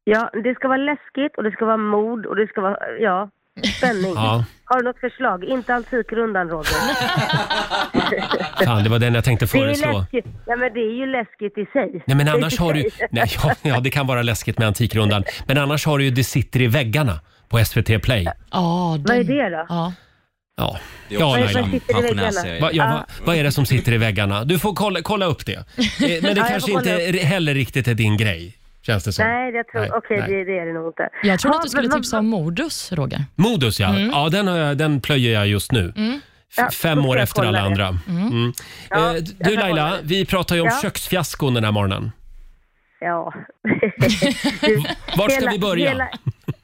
Ja, det ska vara läskigt och det ska vara mod och det ska vara, ja, spänning. Ja. Har du något förslag? Inte Antikrundan, Roger. Fan, det var den jag tänkte Det är, ju föreslå. läskigt. Ja, men det är ju läskigt i sig. Nej men <laughs> Det är typ- annars för har du... sig. Nej, ja, ja, det kan vara läskigt med Antikrundan. Men annars har du ju Det sitter i väggarna på SVT Play. Vad är det då? Ja. Ja, Det är också ja en Laila. Vad sitter i pensionärsserie. väggarna? Va, ja, va, Ah. vad är det som sitter i väggarna? Du får kolla, kolla upp det. Eh, Men det jag kanske får kolla inte upp det. heller riktigt är din grej, känns det som. Nej, jag tror, Nej, okej, nej. det, det är det nog inte. Jag trodde Ja, att du skulle men- tipsa om Modus, Roger. Modus ja, Mm. ja den, har jag, den plöjer jag just nu. Mm. F- Ja, Fem då får år jag efter kolla alla det. andra. Mm. Mm. Ja, Eh, jag Du ska kolla Laila, det. vi pratar ju om Ja. köksfiaskon den här morgonen. <laughs> Ja. Du, Var ska vi börja? Hela,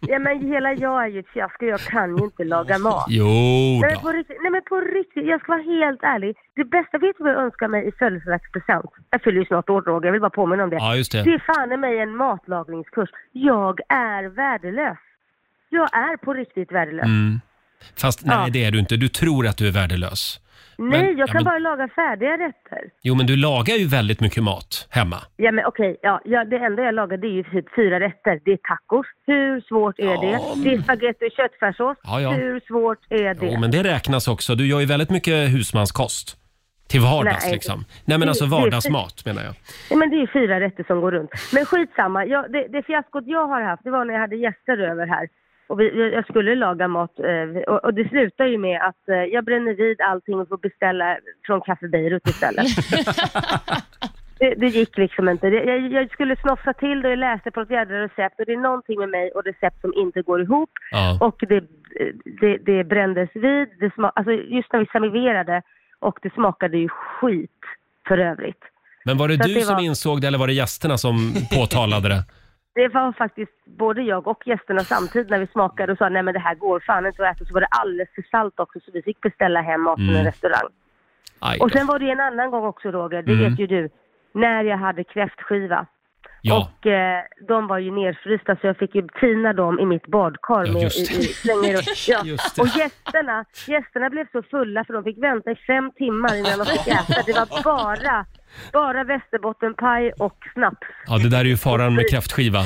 ja, men hela jag är ju ett fiasko. Jag kan ju inte laga mat. <laughs> Jo Nej men, då. på riktigt, nej men på riktigt, jag ska vara helt ärlig. Det bästa, vet du vad jag önskar mig i födelsedagspresent? Jag fyller ju snart år Roger, jag vill bara påminna om det. Ja, just det. det är fan i mig en matlagningskurs. Jag är värdelös. Jag är på riktigt värdelös. Mm. Fast nej, det är du inte. Du tror att du är värdelös. Nej, Men- jag ja, kan men- bara laga färdiga rätter. Jo, men du lagar ju väldigt mycket mat hemma. Ja men okej, ja, ja, det enda jag lagar det är ju typ fyra rätter. Det är tacos. Hur svårt är det? Det är spagetti och köttfärssås. Ja, ja. Hur svårt är det? Jo, men det räknas också. Du gör ju väldigt mycket husmanskost. Till vardags Nej. liksom. Nej, men Det- alltså det- vardagsmat menar jag. Nej, men det är ju fyra rätter som går runt. Men skitsamma, jag, det, det fiaskot jag har haft det var när jag hade gäster över här. Och vi, jag- jag skulle laga mat eh, och, och det slutar ju med att eh, jag bränner vid allting och får beställa från Café Beirut istället. det, det gick liksom inte. Det, jag, jag skulle snoffa till det och jag läste på ett jädra recept och det är någonting med mig och recept som inte går ihop. Ja. Och det, det, det brändes vid, det sma, alltså just när vi serverade och det smakade ju skit för övrigt. Men var det Så att du det som var- insåg det eller var det gästerna som påtalade <laughs> det? Det var faktiskt både jag och gästerna samtidigt när vi smakade och sa nej men det här går fan inte att äta. Så var det alldeles för salt också så vi fick beställa hem mat från Mm. en restaurang. Aj Och sen var det en annan gång också Roger, det Mm. vet ju du, när jag hade kräftskiva. Ja. Och eh, de var ju nerfrysta så jag fick ju tina dem i mitt badkar. Ja, med, just i, det. i, slänger <laughs> och, ja. Just det. och gästerna, gästerna blev så fulla för de fick vänta i fem timmar innan de fick äta. Det var bara Bara västerbottenpaj och snaps. Ja, det där är ju faran med <laughs> kräftskiva.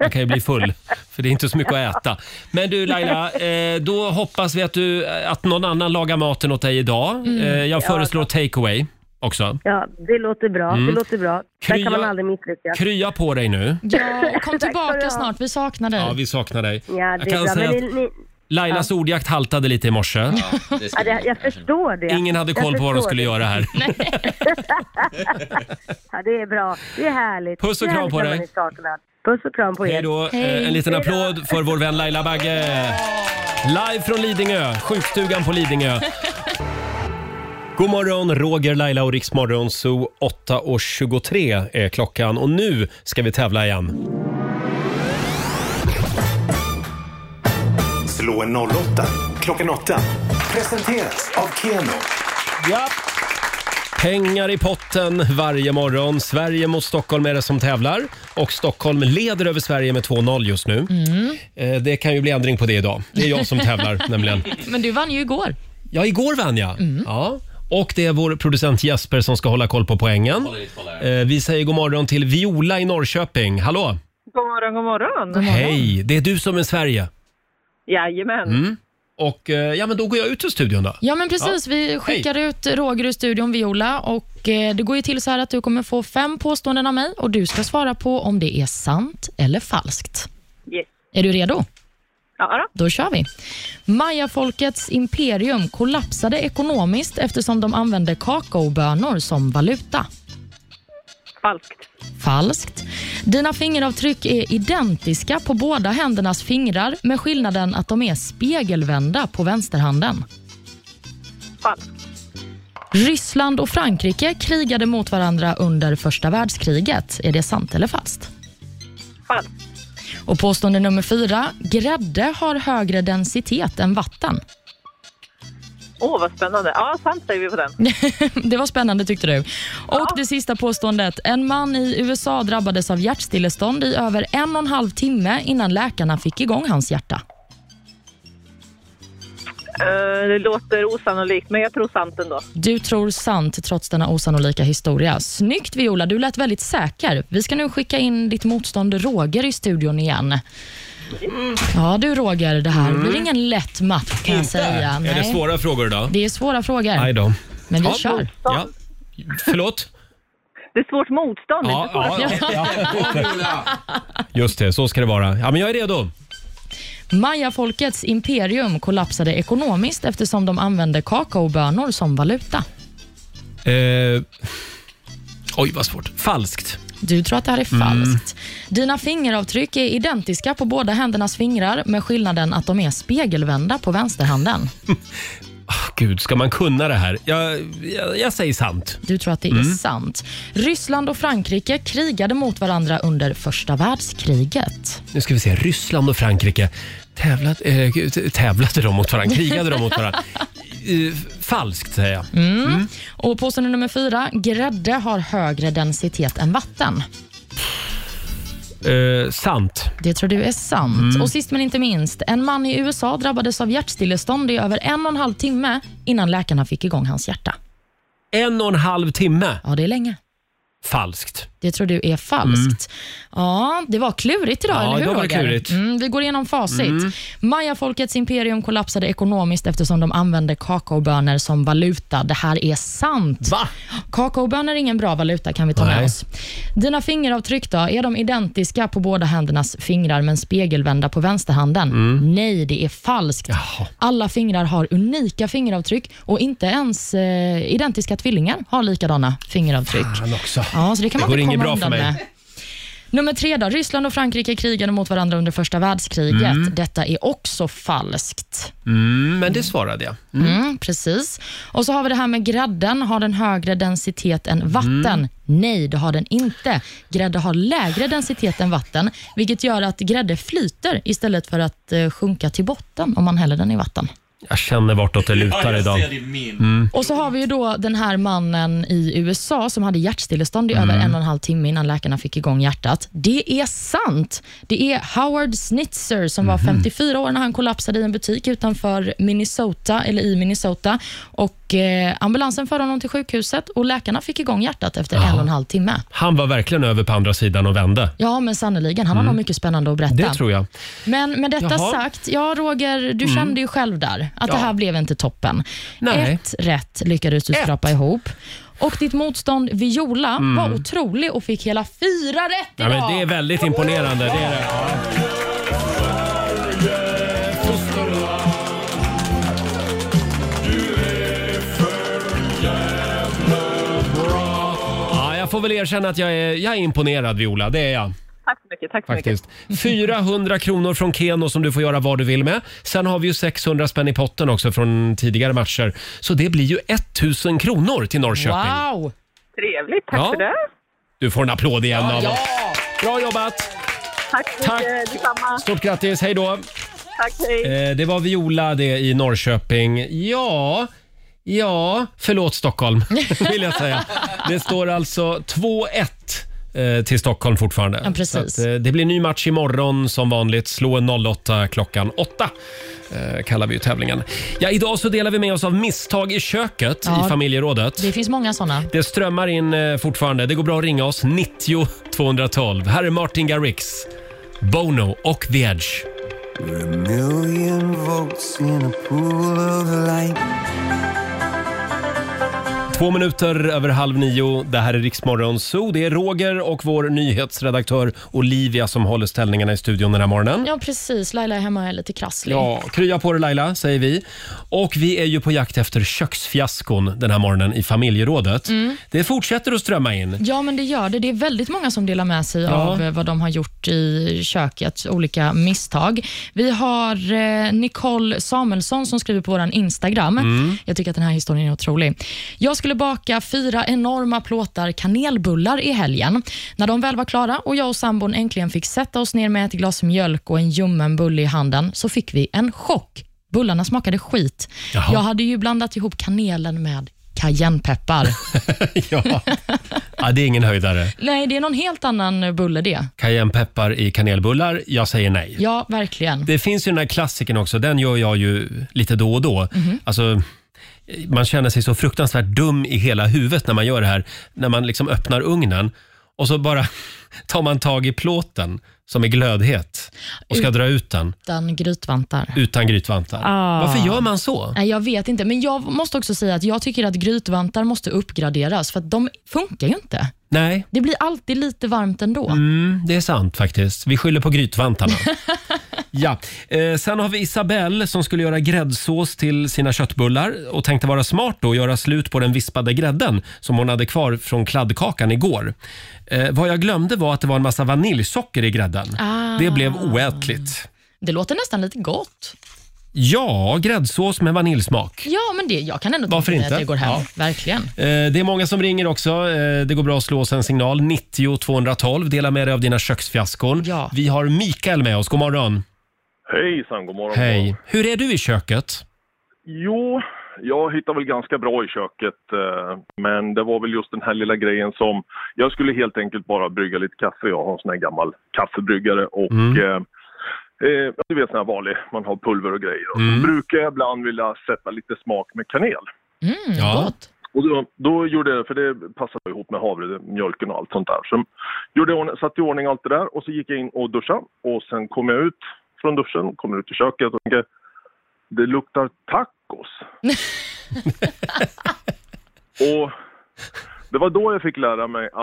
Man kan ju bli full, för det är inte så mycket att äta. Men du <laughs> Laila, eh, då hoppas vi att, du, att någon annan lagar maten åt dig idag. Mm. Eh, jag Ja, föreslår takeaway också. Ja, det låter bra. Mm. Det låter bra. Där Krya- kan man aldrig misslyckas. Krya på dig nu. Ja, och kom tillbaka snart. Vi saknar dig. Ja, vi saknar dig. Ja, Jag det är kan bra. Men säga ni, att ni, Lailas ordjakt haltade lite i morse. ja, det, jag förstår det. Ingen hade Jag koll på vad de förstår skulle det. göra här. Ja, det är bra. Det är härligt. Puss och Det är kram härligt på när dig. man är startglad. Puss och kram på er. Hej då. Eh, En liten Hej då. applåd för vår vän Laila Bagge. Live från Lidingö, sjukstugan på Lidingö. God morgon, Roger, Laila och Riksmorgon Zoo. 8.23 är klockan och nu ska vi tävla igen. Slå en 08 klockan 8. Presenteras av Keno. Ja. Pengar i potten varje morgon. Sverige mot Stockholm är det som tävlar och Stockholm leder över Sverige med 2-0 just nu. Mm. Eh, Det kan ju bli ändring på det idag. Det är jag som tävlar nämligen. Men du vann ju igår. Ja, igår vann jag. Mm. Ja. Och det är vår producent Jesper som ska hålla koll på poängen. Eh, Vi säger god morgon till Viola i Norrköping. Hallå! God morgon, god morgon. Hej! Det är du som är Sverige. Jajamän. Mm. Och eh, ja, men då går jag ut ur studion då. Ja, men precis. Ja. Vi skickar Hej. ut Roger ur studion, Viola. Och eh, det går ju till så här att du kommer få fem påståenden av mig och du ska svara på om det är sant eller falskt. Yes. Är du redo? Ja, Då kör vi. Mayafolkets imperium kollapsade ekonomiskt eftersom de använde kakaobönor som valuta. Falskt. Falskt. Dina fingeravtryck är identiska på båda händernas fingrar med skillnaden att de är spegelvända på vänsterhanden. Falskt. Ryssland och Frankrike krigade mot varandra under första världskriget. Är det sant eller falskt? Falskt. Och påstående nummer fyra. Grädde har högre densitet än vatten. Åh, vad spännande. Ja, sant säger vi på den. <laughs> Det var spännande tyckte du. Och det sista påståendet. En man i USA drabbades av hjärtstillestånd i över en och en halv timme innan läkarna fick igång hans hjärta. Eh, det låter osannolikt, men jag tror sant ändå. Du tror sant trots denna osannolika historia. Snyggt Viola, du lät väldigt säker. Vi ska nu skicka in ditt motstånd Roger i studion igen. Ja du Roger, det här Mm. blir ingen lätt match kan jag säga. Eh, Är det Nej. svåra frågor idag? Det är svåra frågor. Nej då. Men vi kör. Ja. Förlåt? Det är svårt motstånd, Ja, inte svårt. ja, ja. Just det, så ska det vara. Ja, men jag är redo. Mayafolkets imperium kollapsade ekonomiskt eftersom de använde kakaobönor som valuta. Eh... Oj, vad svårt. Falskt. Du tror att det här är falskt. Dina fingeravtryck är identiska på båda händernas fingrar med skillnaden att de är spegelvända på vänsterhanden. Ah, Gud, ska man kunna det här? Jag, jag, jag säger sant. Du tror att det är Mm. sant. Ryssland och Frankrike krigade mot varandra under första världskriget. Nu ska vi se, Ryssland och Frankrike. Tävlat, eh, gud, tävlade de mot varandra? Krigade de mot varandra? Eh, falskt, säger jag. Mm. Och påstående nummer fyra. Grädde har högre densitet än vatten. Mm. Eh, sant. Det tror du är sant. Mm. Och sist men inte minst. En man i USA drabbades av hjärtstillestånd i över en och en halv timme innan läkarna fick igång hans hjärta. En och en halv timme. Ja, det är länge. Falskt. Det tror du är falskt. Ja, det var klurigt idag, Mm. Ja, eller hur idag var det Roger? klurigt. Mm, vi går igenom facit. Mm. Mayafolkets imperium kollapsade ekonomiskt eftersom de använde kakaobönor som valuta. Det här är sant. Va? Kakaobönor är ingen bra valuta, kan vi ta med Nej. oss. Dina fingeravtryck då? Är de identiska på båda händernas fingrar men spegelvända på vänsterhanden? Mm. Nej, det är falskt. Alla fingrar har unika fingeravtryck och inte ens eh, identiska tvillingar har likadana fingeravtryck. Fan också. Ja, så det kan man går inte inget komma bra för undan mig. med. Nummer tre då. Ryssland och Frankrike krigade mot varandra under första världskriget. Mm. Detta är också falskt. Mm, men det svarade jag. Mm. Mm, precis. Och så har vi det här med grädden. Har den högre densitet än vatten? Nej, det har den inte. Grädde har lägre densitet än vatten, vilket gör att grädde flyter istället för att eh, sjunka till botten om man häller den i vatten. Jag känner vartåt det lutar Ja, jag idag. ser det i min. Mm. Och så har vi ju då den här mannen i USA som hade hjärtstillestånd i Mm. över en och en halv timme innan läkarna fick igång hjärtat. Det är sant. Det är Howard Snitzer som Mhm. var 54 år när han kollapsade i en butik utanför Minnesota, eller i Minnesota. Och eh, Ambulansen förde honom till sjukhuset och läkarna fick igång hjärtat efter en och en halv timme. Han var verkligen över på andra sidan och vände. Ja, men sannoliken. Han har Mm. nog mycket spännande att berätta. Det tror jag. Men med detta Jaha. sagt, ja Roger, du Mm. kände ju själv där att Ja. det här blev inte toppen. Nej. Ett rätt lyckades du skrapa ihop. Och ditt motstånd Viola Mm. var otrolig och fick hela fyra rätt Ja, idag. men det är väldigt imponerande. Det är det. Ja, jag får väl erkänna att jag är, jag är imponerad Viola, det är jag. Tack så mycket. Tack så mycket. Faktiskt. 400 kronor från Keno som du får göra vad du vill med. Sen har vi ju 600 spänn i potten också från tidigare matcher. Så det blir ju 1000 kronor till Norrköping. Wow! Trevligt. Tack Ja. för det. Du får en applåd igen av oss. Bra jobbat! Tack så Tack. mycket. Detsamma. Stort grattis, hej då! Tack, hej. Eh, det var Viola det i Norrköping. Ja, ja, förlåt Stockholm <laughs> vill jag säga. Det står alltså 2-1 eh, till Stockholm fortfarande. Ja, precis. Så Att, eh, det blir ny match imorgon som vanligt. Slå en 08 klockan 8 eh, kallar vi ju tävlingen. Ja, idag så delar vi med oss av misstag i köket Ja. i familjerådet. Det finns många sådana. Det strömmar in eh, fortfarande. Det går bra att ringa oss. 90 212. Här är Martin Garrix, Bono och The Edge. Två minuter över halv nio. Det här är Riksmorgon Zoo. Det är Roger och vår nyhetsredaktör Olivia som håller ställningarna i studion den här morgonen. Ja, precis. Laila är hemma och är lite krasslig. Ja, krya på dig Laila, säger vi. Och vi är ju på jakt efter köksfiaskon den här morgonen i familjerådet. Mm. Det fortsätter att strömma in. Ja, men det gör det. Det är väldigt många som delar med sig Ja. av eh, vad de har gjort i köket, olika misstag. Vi har eh, Nicole Samuelsson som skriver på vår Instagram. Mm. Jag tycker att den här historien är otrolig. Jag skulle baka fyra enorma plåtar kanelbullar i helgen. När de väl var klara och jag och sambon äntligen fick sätta oss ner med ett glas mjölk och en ljummen bulle i handen så fick vi en chock. Bullarna smakade skit. Jaha. Jag hade ju blandat ihop kanelen med cayennepeppar. ja. ja, det är ingen höjdare. Nej, det är någon helt annan bulle det. Cayennepeppar i kanelbullar, jag säger nej. Ja, verkligen. Det finns ju den här klassikern också, den gör jag ju lite då och då. Mhm. Alltså, man känner sig så fruktansvärt dum i hela huvudet när man gör det här. När man liksom öppnar ugnen och så bara <laughs> tar man tag i plåten som är glödhet och ska Ut- dra ut den Utan grytvantar. utan grytvantar. Ah. Varför gör man så? Nej, jag vet inte, men jag måste också säga att jag tycker att grytvantar måste uppgraderas för att de funkar ju inte. Nej, Det blir alltid lite varmt ändå. Mm, det är sant faktiskt. Vi skyller på grytvantarna. ja. eh, sen har vi Isabelle som skulle göra gräddsås till sina köttbullar och tänkte vara smart då och göra slut på den vispade grädden som hon hade kvar från kladdkakan igår. Eh, vad jag glömde var att det var en massa vaniljsocker i grädden. Ah. Det blev oätligt. Det låter nästan lite gott. Ja, gräddsås med vaniljsmak. Ja, men det, jag kan ändå Varför tänka mig inte? att det går hem. Ja. Verkligen. Eh, Det är många som ringer också. Eh, Det går bra att slå oss en signal. 90 212. Dela med dig av dina köksfiaskon. Vi har Mikael med oss. God morgon. Hejsan, god morgon. Hej. Hur är du i köket? Jo, jag hittar väl ganska bra i köket. eh, Men det var väl just den här lilla grejen som... Jag skulle helt enkelt bara brygga lite kaffe. Jag har en sån här gammal kaffebryggare och... Mm. eh, Eh, du vet sån här vanlig, man har pulver och grejer. Och Mm. Så brukar jag ibland vilja sätta lite smak med kanel. Mm, gott. Och då, då gjorde jag, för det passade ihop med havre, mjölken och allt sånt där. Så gjorde jag, i ordning- satte i ordning allt det där och så gick jag in och duschade. Och sen kom jag ut från duschen, kom ut i köket och tänkte, det luktar tacos. och det var då jag fick lära mig att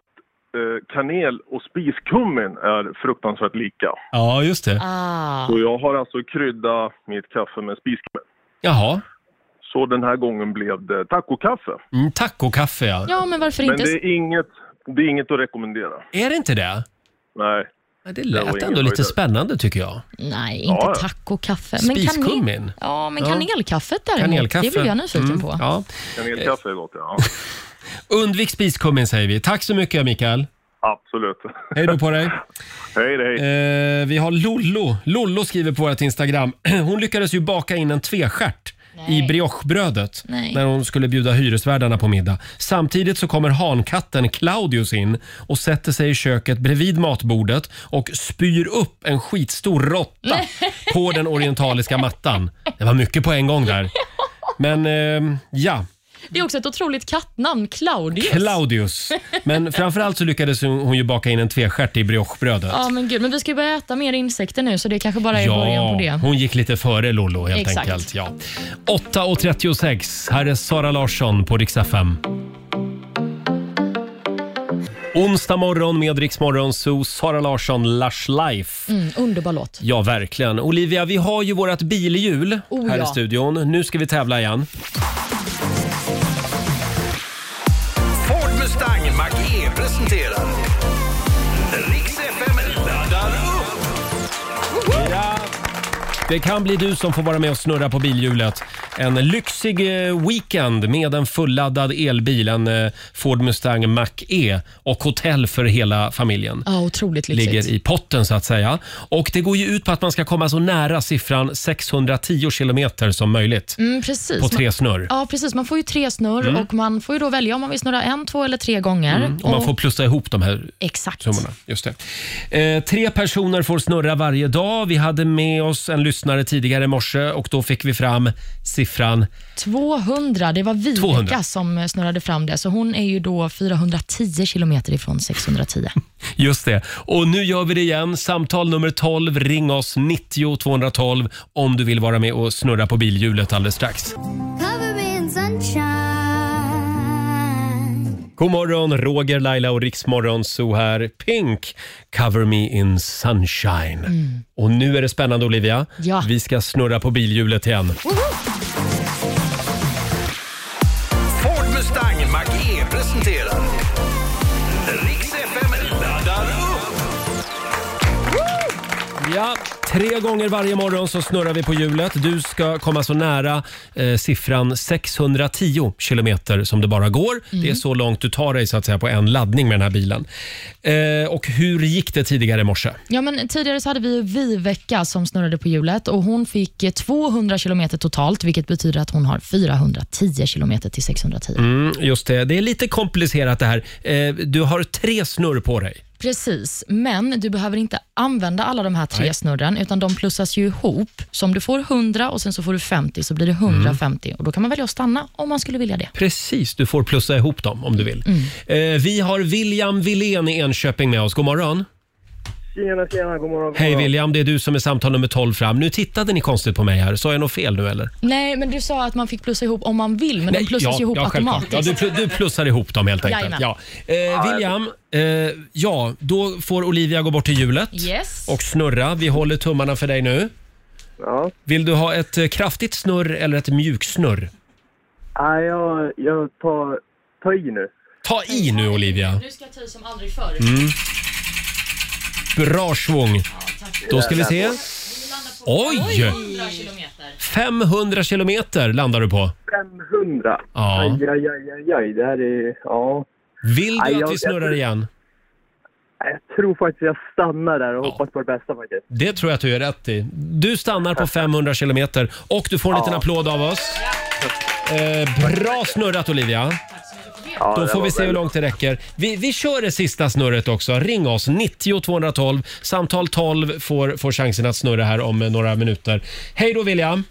eh, kanel och spiskummin är fruktansvärt lika. Ja, just det. Ah. Så jag har alltså kryddat mitt kaffe med spiskummin. Jaha. Så den här gången blev det tacokaffe. Mm, tacokaffe, ja. Ja, men varför Men inte? det är, inget, det är inget att rekommendera. Är det inte det? Nej. Det var lät ingen ändå lite höjdare. spännande tycker jag. Nej, inte Ja, ja. tacokaffe. Spiskummin? Ja, men Ja. kanelkaffet däremot, det blev jag nyfiken Mm, på. Ja. Kanelkaffe är gott, ja. Undvik spiskummin säger vi. Tack så mycket Mikael. Absolut. <laughs> Hej då på dig. Hej, hej. <clears throat> Eh, vi har Lollo. Lollo skriver på vårt Instagram. Hon lyckades ju baka in en tvestjärt i briochebrödet Nej. när hon skulle bjuda hyresvärdarna på middag. Samtidigt så kommer hankatten Claudius in och sätter sig i köket bredvid matbordet och spyr upp en skitstor råtta på den orientaliska mattan. Det var mycket på en gång där. Men eh, ja, Det är också ett otroligt kattnamn, Claudius. Claudius. Men framförallt så lyckades hon hon ju baka in en tvestjärt i briochebrödet. Ja, men gud. Men vi ska ju börja äta mer insekter nu, så det kanske bara är början på det. hon gick lite före Lollo helt Exakt. enkelt. Ja. 8.36, här är Sara Larsson på Rix FM. Onsdag morgon med Rix Morgon Zoo, Sara Larsson, Lush Life. Mm, underbar låt. Ja, verkligen. Olivia, vi har ju vårt bilhjul Oh, här ja. i studion. Nu ska vi tävla igen. Ford Mustang Mach-E presenterar Riks FM laddar upp. Det kan bli du som får vara med och snurra på bilhjulet. En lyxig eh, weekend med en fulladdad elbil, en eh, Ford Mustang Mach-E och hotell för hela familjen. Ja, otroligt lyxigt. ligger i potten så att säga. Och det går ju ut på att man ska komma så nära siffran 610 kilometer som möjligt. Mm, precis. På tre Man- snurr. Ja, precis. Man får ju tre snurr Mm. och man får ju då välja om man vill snurra en, två eller tre gånger. Mm, och man får plussa ihop de här Exakt. summorna. Just det. Eh, tre personer får snurra varje dag. Vi hade med oss en lyssnare tidigare i morse och då fick vi fram siffran 200. Det var Viveka 200. som snurrade fram det, så hon är ju då 410 kilometer <laughs> ifrån 610. Just det. Och nu gör vi det igen. Samtal nummer 12. Ring oss 90 212 om du vill vara med och snurra på bilhjulet alldeles strax. Cover me in sunshine. God morgon, Roger, Laila och Riksmorgon så här. Pink, cover me in sunshine. Mm. Och nu är det spännande Olivia. Ja. Vi ska snurra på bilhjulet igen. Ford Mustang Mach-E presenterar Riks FM laddar upp. Ja, tre gånger varje morgon så snurrar vi på hjulet. Du ska komma så nära eh, siffran 610 kilometer som det bara går. Det Mm. är så långt du tar dig så att säga på en laddning med den här bilen. Eh, och hur gick det tidigare i morse? Ja, men tidigare så hade vi ju Viveka som snurrade på hjulet och hon fick eh, 200 kilometer totalt, vilket betyder att hon har 410 kilometer till 610. Mm, just det, det är lite komplicerat det här. Eh, du har tre snurr på dig. Precis, men du behöver inte använda alla de här tre Nej. snurren, utan de plussas ju ihop. Så om du får 100 och sen så får du 50, så blir det 150 Mm. och då kan man välja att stanna om man skulle vilja det. Precis, du får plussa ihop dem om du vill. Mm. Eh, vi har William Wilén i Enköping med oss. God morgon. Tjena, tjena, god morgon. god Hej morgon. William, det är du som är samtal nummer 12 fram. Nu tittade ni konstigt på mig här. Sa jag något fel nu eller? Nej, men du sa att man fick plussa ihop om man vill, men de plussas ja, ihop ja, självklart. automatiskt. Ja, du, pl- du plussar ihop dem helt enkelt. Jajamän. Ja. Eh, William, eh, ja, då får Olivia gå bort till hjulet Yes. och snurra. Vi håller tummarna för dig nu. Vill du ha ett eh, kraftigt snurr eller ett mjuksnurr? Nej, jag, jag tar, tar i nu. Ta i nu Olivia. Du ska ta som aldrig förr. Mm. Bra svung. Då ska vi se. Oj! 500 kilometer landar du på. 500. Ja. Aj, aj, aj, aj, aj. Det här är... Ja. Vill Aj, du jag- att vi snurrar jag- igen? Jag tror faktiskt jag stannar där och hoppas på det bästa faktiskt. Det tror jag att du är rätt i. Du stannar på 500 kilometer och du får en liten Ja. applåd av oss. Eh, bra snurrat Olivia. Ja, Då det får var vi se hur väldigt- långt det räcker. Vi, vi kör det sista snurret också. Ring oss, 90 212. Samtal 12 får, får chansen att snurra här om eh, några minuter. Hej då William!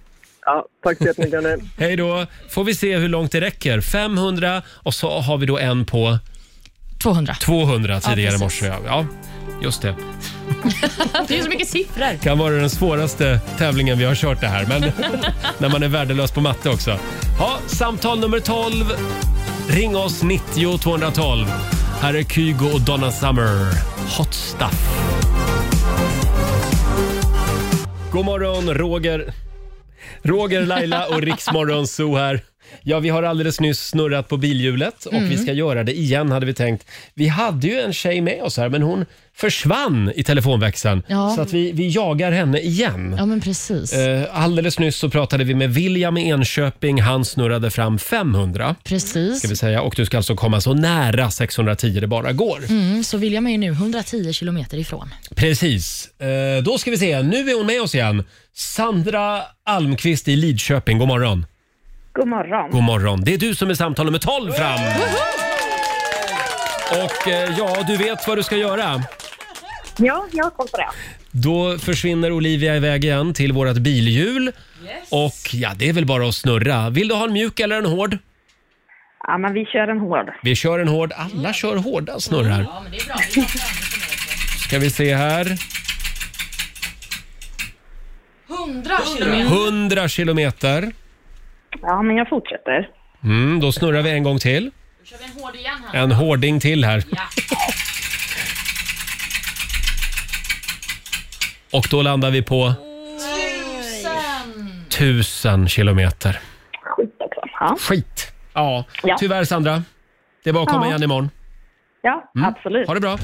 Ja, tack så jättemycket. hörni. Hej då! Får vi se hur långt det räcker. 500 och så har vi då en på 200. 200 Ja, tidigare i precis. morse. Ja. ja, just det. det är så mycket siffror. Kan vara den svåraste tävlingen vi har kört det här, men när man är värdelös på matte också. Ja, samtal nummer 12. Ring oss 90 212. Här är Kygo och Donna Summer. Hot stuff. God morgon, Roger. Roger, Laila och Riksmorgon Zoo här. Ja, vi har alldeles nyss snurrat på bilhjulet och Mm. vi ska göra det igen hade vi tänkt. Vi hade ju en tjej med oss här, men hon försvann i telefonväxeln. Ja. Så att vi, vi jagar henne igen. Ja, men precis. Eh, Alldeles nyss så pratade vi med William i Enköping. Han snurrade fram 500. Precis. Ska vi säga. Och du ska alltså komma så nära 610 det bara går. Mm, så William är ju nu 110 kilometer ifrån. Precis. Eh, Då ska vi se. Nu är hon med oss igen. Sandra Almqvist i Lidköping. God morgon. God morgon. God morgon. Det är du som är samtal nummer 12 fram. Och eh, ja, du vet vad du ska göra. Ja, jag har koll på det. Då försvinner Olivia iväg igen till vårt bilhjul. Och ja, det är väl bara att snurra. Vill du ha en mjuk eller en hård? Ja, men vi kör en hård. Vi kör en hård. Alla kör hårda snurrar. men det är bra. Ska vi se här. 100 100 kilometer. Ja, men jag fortsätter. Mm, då snurrar vi en gång till. kör vi en hård igen här. En hårding till här. Ja. Och då landar vi på Tusen. 1000 kilometer. Ja. Skit. Ja, Ja. tyvärr Sandra. Det är bara att komma Ja. igen imorgon. Ja, Mm. absolut. Ha det bra.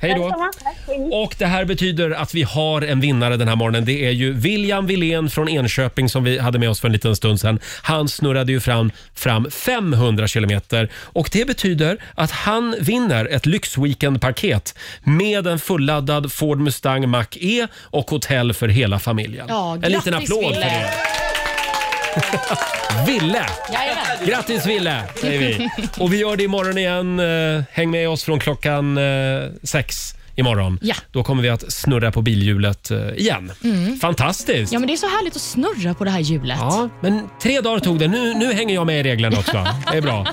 Hej då. Detsamma. Tack, hej. Och det här betyder att vi har en vinnare den här morgonen. Det är ju William Wilén från Enköping som vi hade med oss för en liten stund sedan. Han snurrade ju fram, fram 500 kilometer och det betyder att han vinner ett lyxweekendpaket med en fulladdad Ford Mustang Mach-E och hotell för hela familjen. Ja, en grattis, liten applåd för Wille. det. <laughs> Ville! Jajamän. Grattis Ville, säger vi. Och vi gör det imorgon igen. Eh, Häng med oss från klockan eh, sex imorgon. Ja. Då kommer vi att snurra på bilhjulet eh, igen. Mm. Fantastiskt! Ja, men det är så härligt att snurra på det här hjulet. Ja, men tre dagar tog det. Nu, nu hänger jag med i reglerna också. Det är bra.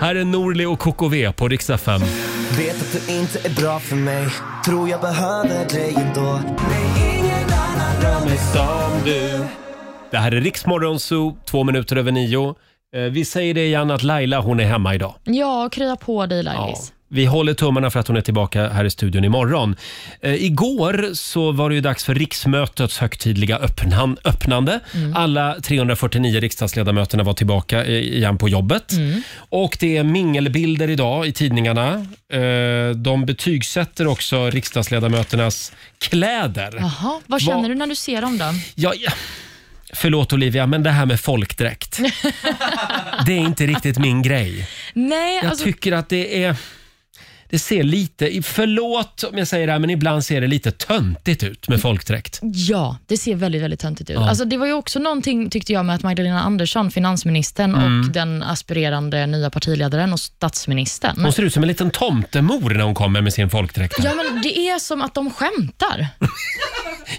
Här är Norli och KKV på riksdag 5. Vet att du inte är bra för mig Tror jag behöver dig ändå Nej, ingen annan rör mig som du Det här är Riksmorgon Zoo, två minuter över nio. Eh, Vi säger det igen att Laila, hon är hemma idag. Ja, krya på dig Lailis. Vi håller tummarna för att hon är tillbaka här i studion imorgon. Eh, igår så var det ju dags för riksmötets högtidliga öppnan, öppnande. Alla 349 riksdagsledamöterna var tillbaka i- igen på jobbet. Och det är mingelbilder idag i tidningarna. Eh, de betygsätter också riksdagsledamöternas kläder. Jaha, vad känner du när du ser dem då? Ja, ja. Förlåt Olivia, men det här med folkdräkt. det är inte riktigt min grej. Nej, Jag alltså, tycker att det är... Det ser lite, förlåt om jag säger det här, men ibland ser det lite töntigt ut med folkdräkt. ja, det ser väldigt, väldigt töntigt ut. Ja. Alltså, det var ju också någonting, tyckte jag, med att Magdalena Andersson, finansministern Mm. och den aspirerande nya partiledaren och statsministern. Hon ser ut som en liten tomtemor när hon kommer med sin folkdräkt. Ja, men det är som att de skämtar.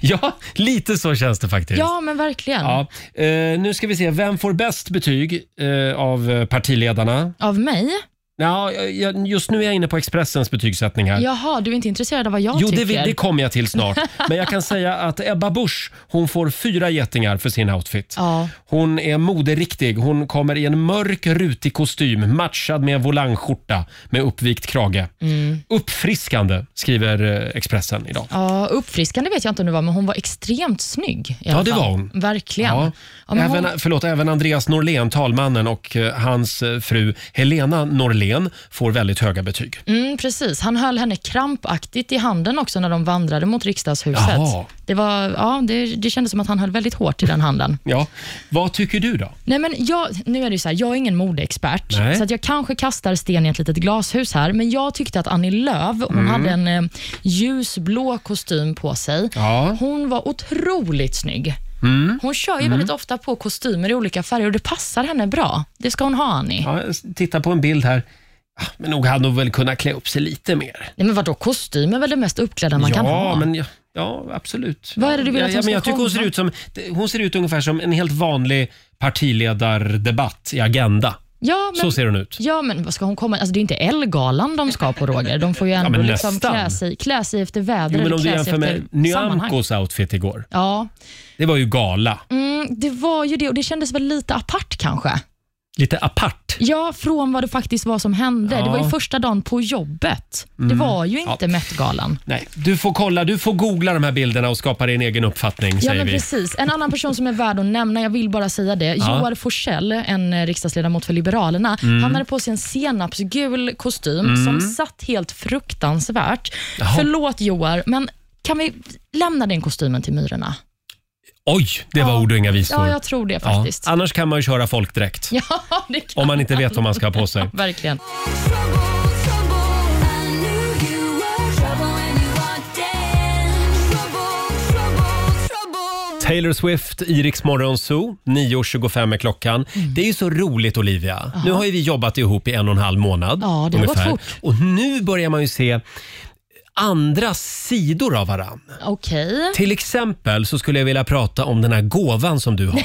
Ja, lite så känns det faktiskt. Ja, men verkligen. Ja, eh, nu ska vi se, vem får bäst betyg eh, av eh, partiledarna? Av mig? Ja, jag- jag, just nu är jag inne på Expressens betygssättning här. Jaha, du är inte intresserad av vad jag jo, det, tycker? vi- det kommer jag till <laughs> snart. Men jag kan säga att Ebba Busch, hon får fyra getingar för sin outfit. Ja. Hon är moderiktig. Hon kommer i en mörk rutig kostym matchad med en volangskjorta med uppvikt krage. Mm. Uppfriskande, skriver eh, Expressen idag. Ja, uppfriskande vet jag inte om det var, men hon var extremt snygg. i Ja, alla det fall. var hon. Verkligen. Ja. men Även, hon... förlåt, även Andreas Norlén, talmannen och eh, hans eh, fru Helena Norlén får väldigt höga betyg. Mm, precis. Han höll henne krampaktigt i handen också när de vandrade mot riksdagshuset. Jaha. Det, var, ja, det, det kändes som att han höll väldigt hårt i den handen. Ja, vad tycker du då? Nej, men jag, nu är det ju så här, jag är ingen modeexpert, Nej. så att jag kanske kastar sten i ett litet glashus här, men jag tyckte att Annie Lööf, hon Mm. hade en eh, ljusblå kostym på sig. Ja. Hon var otroligt snygg. Mm. Hon kör ju Mm. väldigt ofta på kostymer i olika färger och det passar henne bra. Det ska hon ha, Annie. Ja, jag tittar på en bild här. Ah, Men nog hade hon väl kunnat klä upp sig lite mer. Nej, men vadå, kostym är väl det mest uppklädda man ja, kan ha? Men, ja, ja, absolut. Vad är det du vill ja, att hon ja, ska men jag tycker hon ser, komma? ut som, det- hon ser ut ungefär som en helt vanlig partiledardebatt i Agenda. Ja, men, Så ser hon ut. Ja, men vad ska hon komma? Alltså, det är inte Ellegalan de ska på, Roger. De får ju ändå men liksom nästan. klä, sig, klä sig efter väder Jo, men eller om du klä sig jämför efter med sammanhang. Nyamkos outfit igår. Ja, Det var ju gala. mm, det var ju det och det kändes väl lite apart kanske. Lite apart. Ja, från vad det faktiskt var som hände. Det var ju Ja. första dagen på jobbet. Det Mm. var ju inte Met-galan. Nej, du får kolla, du får googla de här bilderna och skapa din egen uppfattning, Ja, säger men vi. precis. En annan person som är värd att nämna, jag vill bara säga det. Ja. Joar Forsell, en eh, riksdagsledamot för Liberalerna, Mm. han hade på sig en senapsgul kostym Mm. som satt helt fruktansvärt. Jaha. Förlåt Joar, men kan vi lämna den kostymen till myrorna? Oj, det var ord och inga visor. Ja, jag tror det faktiskt. Ja, Annars kan man ju köra folkdräkt. <laughs> Ja, det kan Om man inte vet vad man ska ha på sig. <laughs> Verkligen. Taylor Swift, i Rix Morgon Zoo. 9.25 är klockan. Mm. Det är ju så roligt, Olivia. Nu har ju vi jobbat ihop i en och en halv månad. Ja, det har gått fort. Och nu börjar man ju se andra sidor av varann. Okej. Till exempel så skulle jag vilja prata om den här gåvan som <laughs> du har.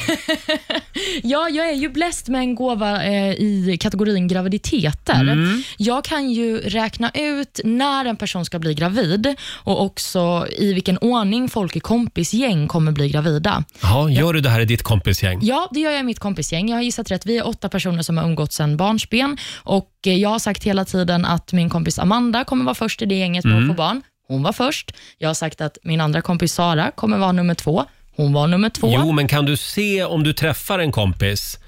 Ja, jag är ju bläst med en gåva eh, i kategorin graviditeter. Mm. Jag kan ju räkna ut när en person ska bli gravid och också i vilken ordning folk i kompisgäng kommer bli gravida. Ja, gör du det här i ditt kompisgäng? Ja, det gör jag i mitt kompisgäng. Jag har gissat rätt. Vi är åtta personer som har umgåtts sedan barnsben och eh, jag har sagt hela tiden att min kompis Amanda kommer vara först i det gänget med Mm. att få barn. Hon var först. Jag har sagt att min andra kompis Sara kommer vara nummer två. Hon var nummer två. Jo, men kan du se om du träffar en kompis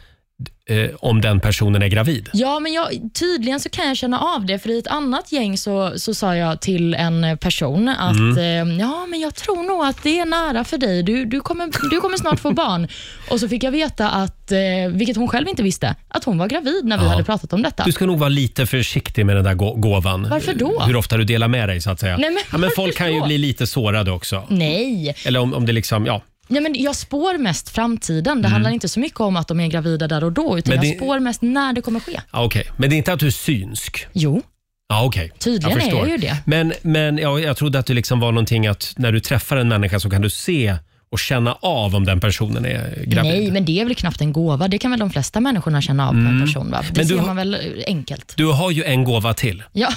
eh, om den personen är gravid? Ja, men jag, tydligen så kan jag känna av det, för i ett annat gäng så, så sa jag till en person att Mm. eh, ja, men jag tror nog att det är nära för dig. Du, du, kommer, du kommer snart <laughs> få barn. Och så fick jag veta, att, eh, vilket hon själv inte visste, att hon var gravid när vi Ja. hade pratat om detta. Du ska nog vara lite försiktig med den där gå- gåvan. Varför då? Hur ofta du delar med dig så att säga. Nej, men ja, men varför folk kan ju då? bli lite sårade också. Nej. Eller om, om det liksom, ja. Nej, men jag spår mest framtiden. Det Mm. handlar inte så mycket om att de är gravida där och då, utan Men jag det- spår mest när det kommer ske. ja okej. Men det är inte att du är synsk? Jo. Ja, okej. Tydligen är jag förstår. ju det. Men, men ja, jag trodde att det liksom var någonting att när du träffar en människa så kan du se och känna av om den personen är gravid. Nej, men det är väl knappt en gåva. Det kan väl de flesta människorna känna av på en Mm. person? Va? Det Men du ser har- man väl enkelt. Du har ju en gåva till. Ja, <laughs>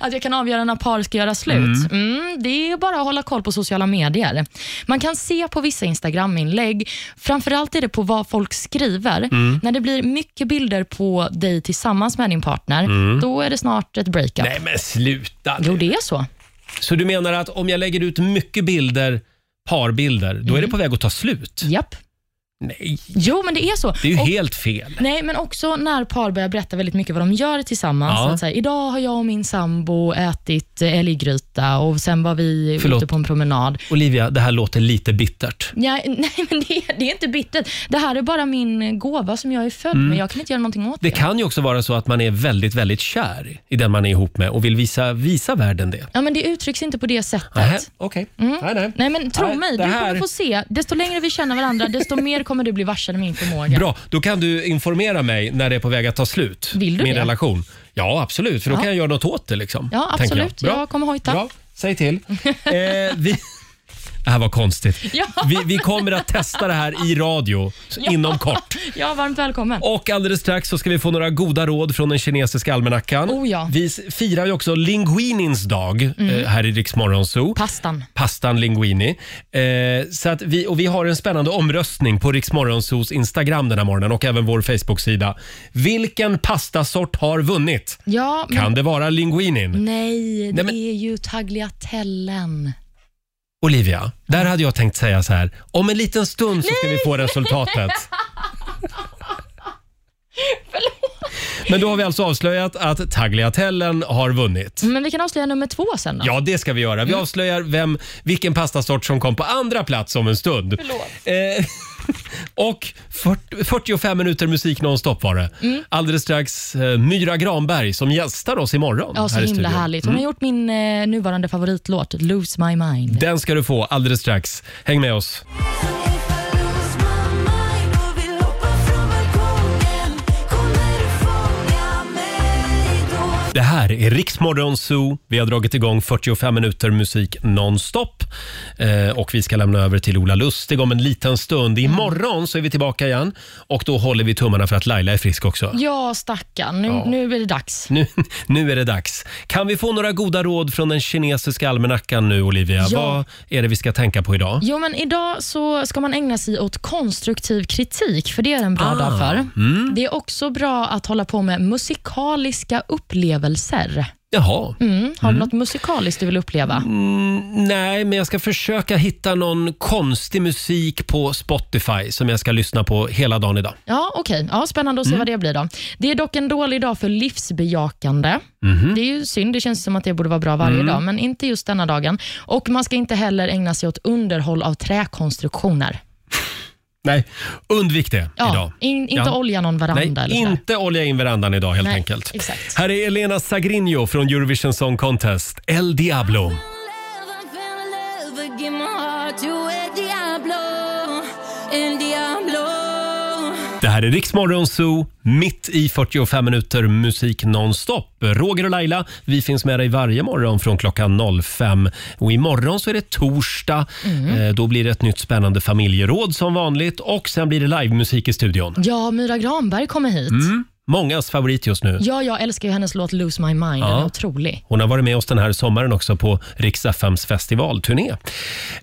att jag kan avgöra när par ska göra slut. Mm. det är bara att hålla koll på sociala medier. Man kan se på vissa Instagram-inlägg, framförallt är det på vad folk skriver. Mm. När det blir mycket bilder på dig tillsammans med din partner, Mm. då är det snart ett breakup. Nej, men sluta nu. Jo, det är så. Så du menar att om jag lägger ut mycket bilder, parbilder, då är Mm. det på väg att ta slut? Japp. Nej, Jo, men det är så. det är ju Och- helt fel. Nej, men också när par börjar berätta väldigt mycket vad de gör tillsammans. Ja. Att så här, idag har jag och min sambo ätit eh, älggryta och sen var vi Förlåt. ute på en promenad. Olivia, det här låter lite bittert. Nej, <laughs> nej men det, det är inte bittert. Det här är bara min gåva som jag är född Mm. med. Jag kan inte göra någonting åt det. Det kan ju också vara så att man är väldigt, väldigt kär i den man är ihop med och vill visa, visa världen det. Ja, men det uttrycks inte på det sättet. Nähä, okej. Mm. Nej, nej. men tro Nej, mig, det du här- kommer få se. Desto längre vi känner varandra, desto mer kommer du bli varse min förmåga. Bra, då kan du informera mig när det är på väg att ta slut. Vill du min det? relation. Ja, absolut. För då Ja. kan jag göra något åt det. Liksom, Ja, tänker absolut. Jag. Jag, Bra. kommer hojta. Bra. Säg <laughs> till. Eh, vi... Det här var konstigt. Ja. Vi, vi kommer att testa det här i radio <laughs> inom kort. Ja, varmt välkommen. Och alldeles strax så ska vi få några goda råd från den kinesiska almanackan. Oh ja. Mhm. Vi s- firar ju också linguinins dag eh, här i Rix Morgon Zoo. Pastan. Pastan linguini. Eh, så att vi, och vi har en spännande omröstning på Rix Morgon Zoos Instagram den här morgonen och även vår Facebook-sida. Vilken pastasort har vunnit? Ja, men... Kan det vara linguinin? Nej, det Nej, men- är ju tagliatellen. Olivia, där hade jag tänkt säga så här. Om en liten stund så ska vi få resultatet. <laughs> Men då har vi alltså avslöjat att tagliatellen har vunnit. Men vi kan avslöja nummer två sen då. Ja, det ska vi göra. Mm. Vi avslöjar vem, vilken pastasort som kom på andra plats om en stund. Eh, <laughs> och 40, 45 minuter musik nonstop var det. Mm. Alldeles strax eh, Myra Granberg som gästar oss imorgon. Ja, så här i himla studion. härligt. Hon Mm. har gjort min eh, nuvarande favoritlåt, Lose My Mind. Den ska du få alldeles strax. Häng med oss. Det här är Riksmorgon Zoo. Vi har dragit igång 45 minuter musik nonstop. Eh, och vi ska lämna över till Ola Lustig om en liten stund. Imorgon så är vi tillbaka igen och då håller vi tummarna för att Laila är frisk också. Ja, stackarn. Nu, Ja. nu är det dags. Nu, nu är det dags. Kan vi få några goda råd från den kinesiska almanackan nu, Olivia? Ja. Vad är det vi ska tänka på idag? Jo, men idag så ska man ägna sig åt konstruktiv kritik, för det är en bra dag för. Mm. Det är också bra att hålla på med musikaliska upplevelser. Jaha. Mm. Har du något musikaliskt du vill uppleva? Mm, nej, men jag ska försöka hitta någon konstig musik på Spotify som jag ska lyssna på hela dagen idag. Ja, okej. Ja, spännande att se Mm. vad det blir då. Det är dock en dålig dag för livsbejakande. Mhm. Det är ju synd, det känns som att det borde vara bra varje Mm. dag, men inte just denna dagen. Och man ska inte heller ägna sig åt underhåll av träkonstruktioner. Nej, undvik det Ja, idag. in- inte olja någon veranda Nej, eller sådär. inte olja in verandan idag helt Nej, enkelt. exakt. Här är Elena Sagrinho från Eurovision Song Contest, El Diablo. Never give my heart to a Diablo el diablo. Det här är Riksmorgon Zoo, mitt i 45 minuter musik nonstop. Roger och Laila, vi finns med dig varje morgon från klockan 05. Och imorgon så är det torsdag. Mm. Eh, Då blir det ett nytt spännande familjeråd som vanligt och sen blir det livemusik i studion. Ja, Myra Granberg kommer hit. Mm. Mångas favorit just nu. Ja, jag älskar ju hennes låt Lose My Mind. Den Ja. är otrolig. Hon har varit med oss den här sommaren också på Rix FMs festivalturné.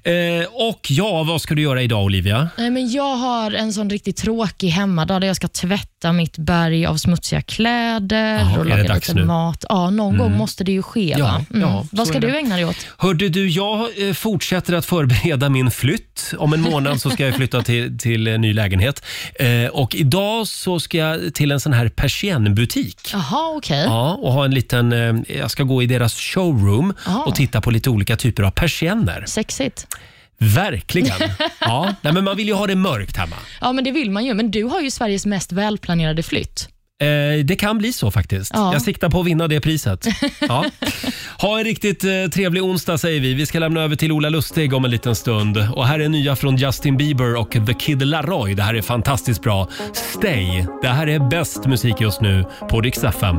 Eh, och ja, vad ska du göra idag Olivia? Nej, men jag har en sån riktigt tråkig hemmadag där jag ska tvätta mitt berg av smutsiga kläder Jaha, är och det laga lite dags nu? mat. Ja, någon Mm. gång måste det ju ske. Ja, va? Mm. ja, Vad så ska är det. du ägna dig åt? Hörde du, jag eh, fortsätter att förbereda min flytt. Om en månad så ska jag flytta till, till en ny lägenhet. Eh, och idag så ska jag till en sån här persiennbutik. Jaha, okej. Ja, och ha en liten, eh, jag ska gå i deras showroom Ah. och titta på lite olika typer av persienner. Sexigt. Verkligen. Ja, nej, men man vill ju ha det mörkt hemma. Ja, men det vill man ju. Men du har ju Sveriges mest välplanerade flytt. Eh, det kan bli så faktiskt. Ja. Jag siktar på att vinna det priset. Ja. Ha en riktigt eh, trevlig onsdag säger vi. Vi ska lämna över till Ola Lustig om en liten stund. Och här är nya från Justin Bieber och The Kid Laroi. Det här är fantastiskt bra. Stay! Det här är bäst musik just nu på Rix FM.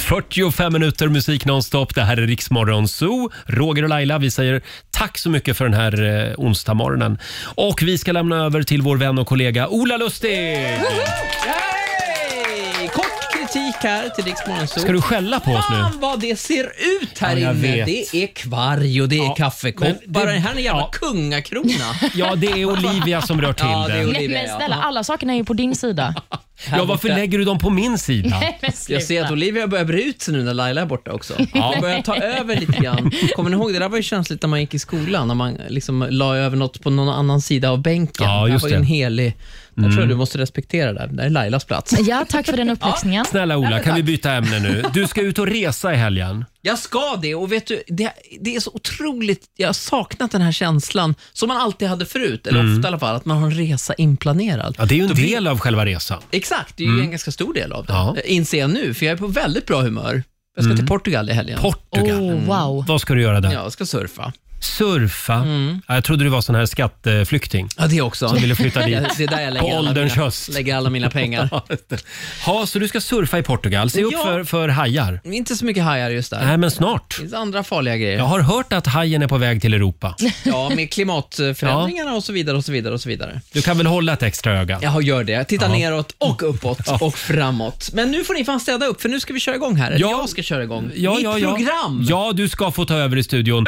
45 minuter musik nonstop. Det här är Riksmorgon Zoo. Roger och Laila, vi säger tack så mycket för den här eh, onsdagsmorgonen. Och vi ska lämna över till vår vän och kollega Ola Lustig! Hej! Kort kritik här till Rix Morgonzoo. Ska du skälla på oss nu? Fan vad det ser ut här Ja, jag inne. vet. Det är kvarg och det är men kaffekoppar. det- Det här är en jävla ja. kungakrona. <laughs> Ja, det är Olivia som rör till Ja, det är det. Nej, men snälla, alla sakerna är ju på <laughs> din sida. Ja, varför lägger du dem på min sida? Nej, men sluta. Jag ser att Olivia börjar bre ut sig nu när Laila är borta också. Ja. Hon börjar ta över lite grann. Kommer ni ihåg, det där var ju känsligt när man gick i skolan, när man liksom la över något på någon annan sida av bänken. Ja, just det. var ju det. Mm. en helig... Jag tror jag du måste respektera det. där. Det där är Lailas plats. Ja, tack för den uppläxningen. Snälla Ola, kan vi byta ämne nu? Du ska ut och resa i helgen. Jag ska det och vet du, det, det är så otroligt, jag har saknat den här känslan som man alltid hade förut, eller Mm. ofta i alla fall, att man har en resa inplanerad. Ja, det är ju en Då blir- del av själva resan. Exakt, det är ju Mm. en ganska stor del av det, eh, Ja. inser jag nu, för jag är på väldigt bra humör. Jag ska Mm. till Portugal i helgen. Portugal. Oh. Oh, Vad ska du göra där? Ja, Mm. jag ska surfa. Surfa? Ja, Jag trodde du var sån här skatteflykting. Ja, det också. Som ville <laughs> flytta dit. Det är där jag på lägger, alla ålderns mina, höst. lägger alla mina pengar. <laughs> Ja, så du ska surfa i Portugal. Se upp Ja. för, för hajar. Inte så mycket hajar just där. Nej, men snart. Det finns andra farliga grejer. Jag har hört att hajen är på väg till Europa. Ja, <laughs> med klimatförändringarna och så vidare och så vidare och så vidare. Du kan väl hålla ett extra öga? Jag gör det. Jag tittar Ja. neråt och uppåt och framåt. Men nu får ni fan städa upp för nu ska vi köra igång här. Ja. Ja. Jag ska köra igång. Mitt program! Ja, du ska få ta över i studion.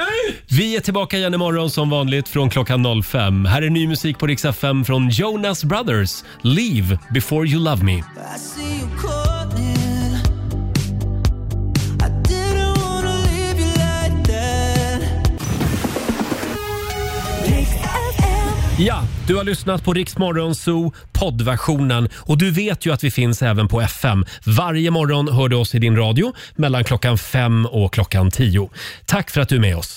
Vi är tillbaka igen imorgon som vanligt från klockan 05. Här är ny musik på Rix FM från Jonas Brothers. Leave before you love me. I see you caught in. I didn't wanna leave you like that. Ja, du har lyssnat på Rix Morgon Zoo poddversionen och du vet ju att vi finns även på FM. Varje morgon hör du oss i din radio mellan klockan fem och klockan tio. Tack för att du är med oss.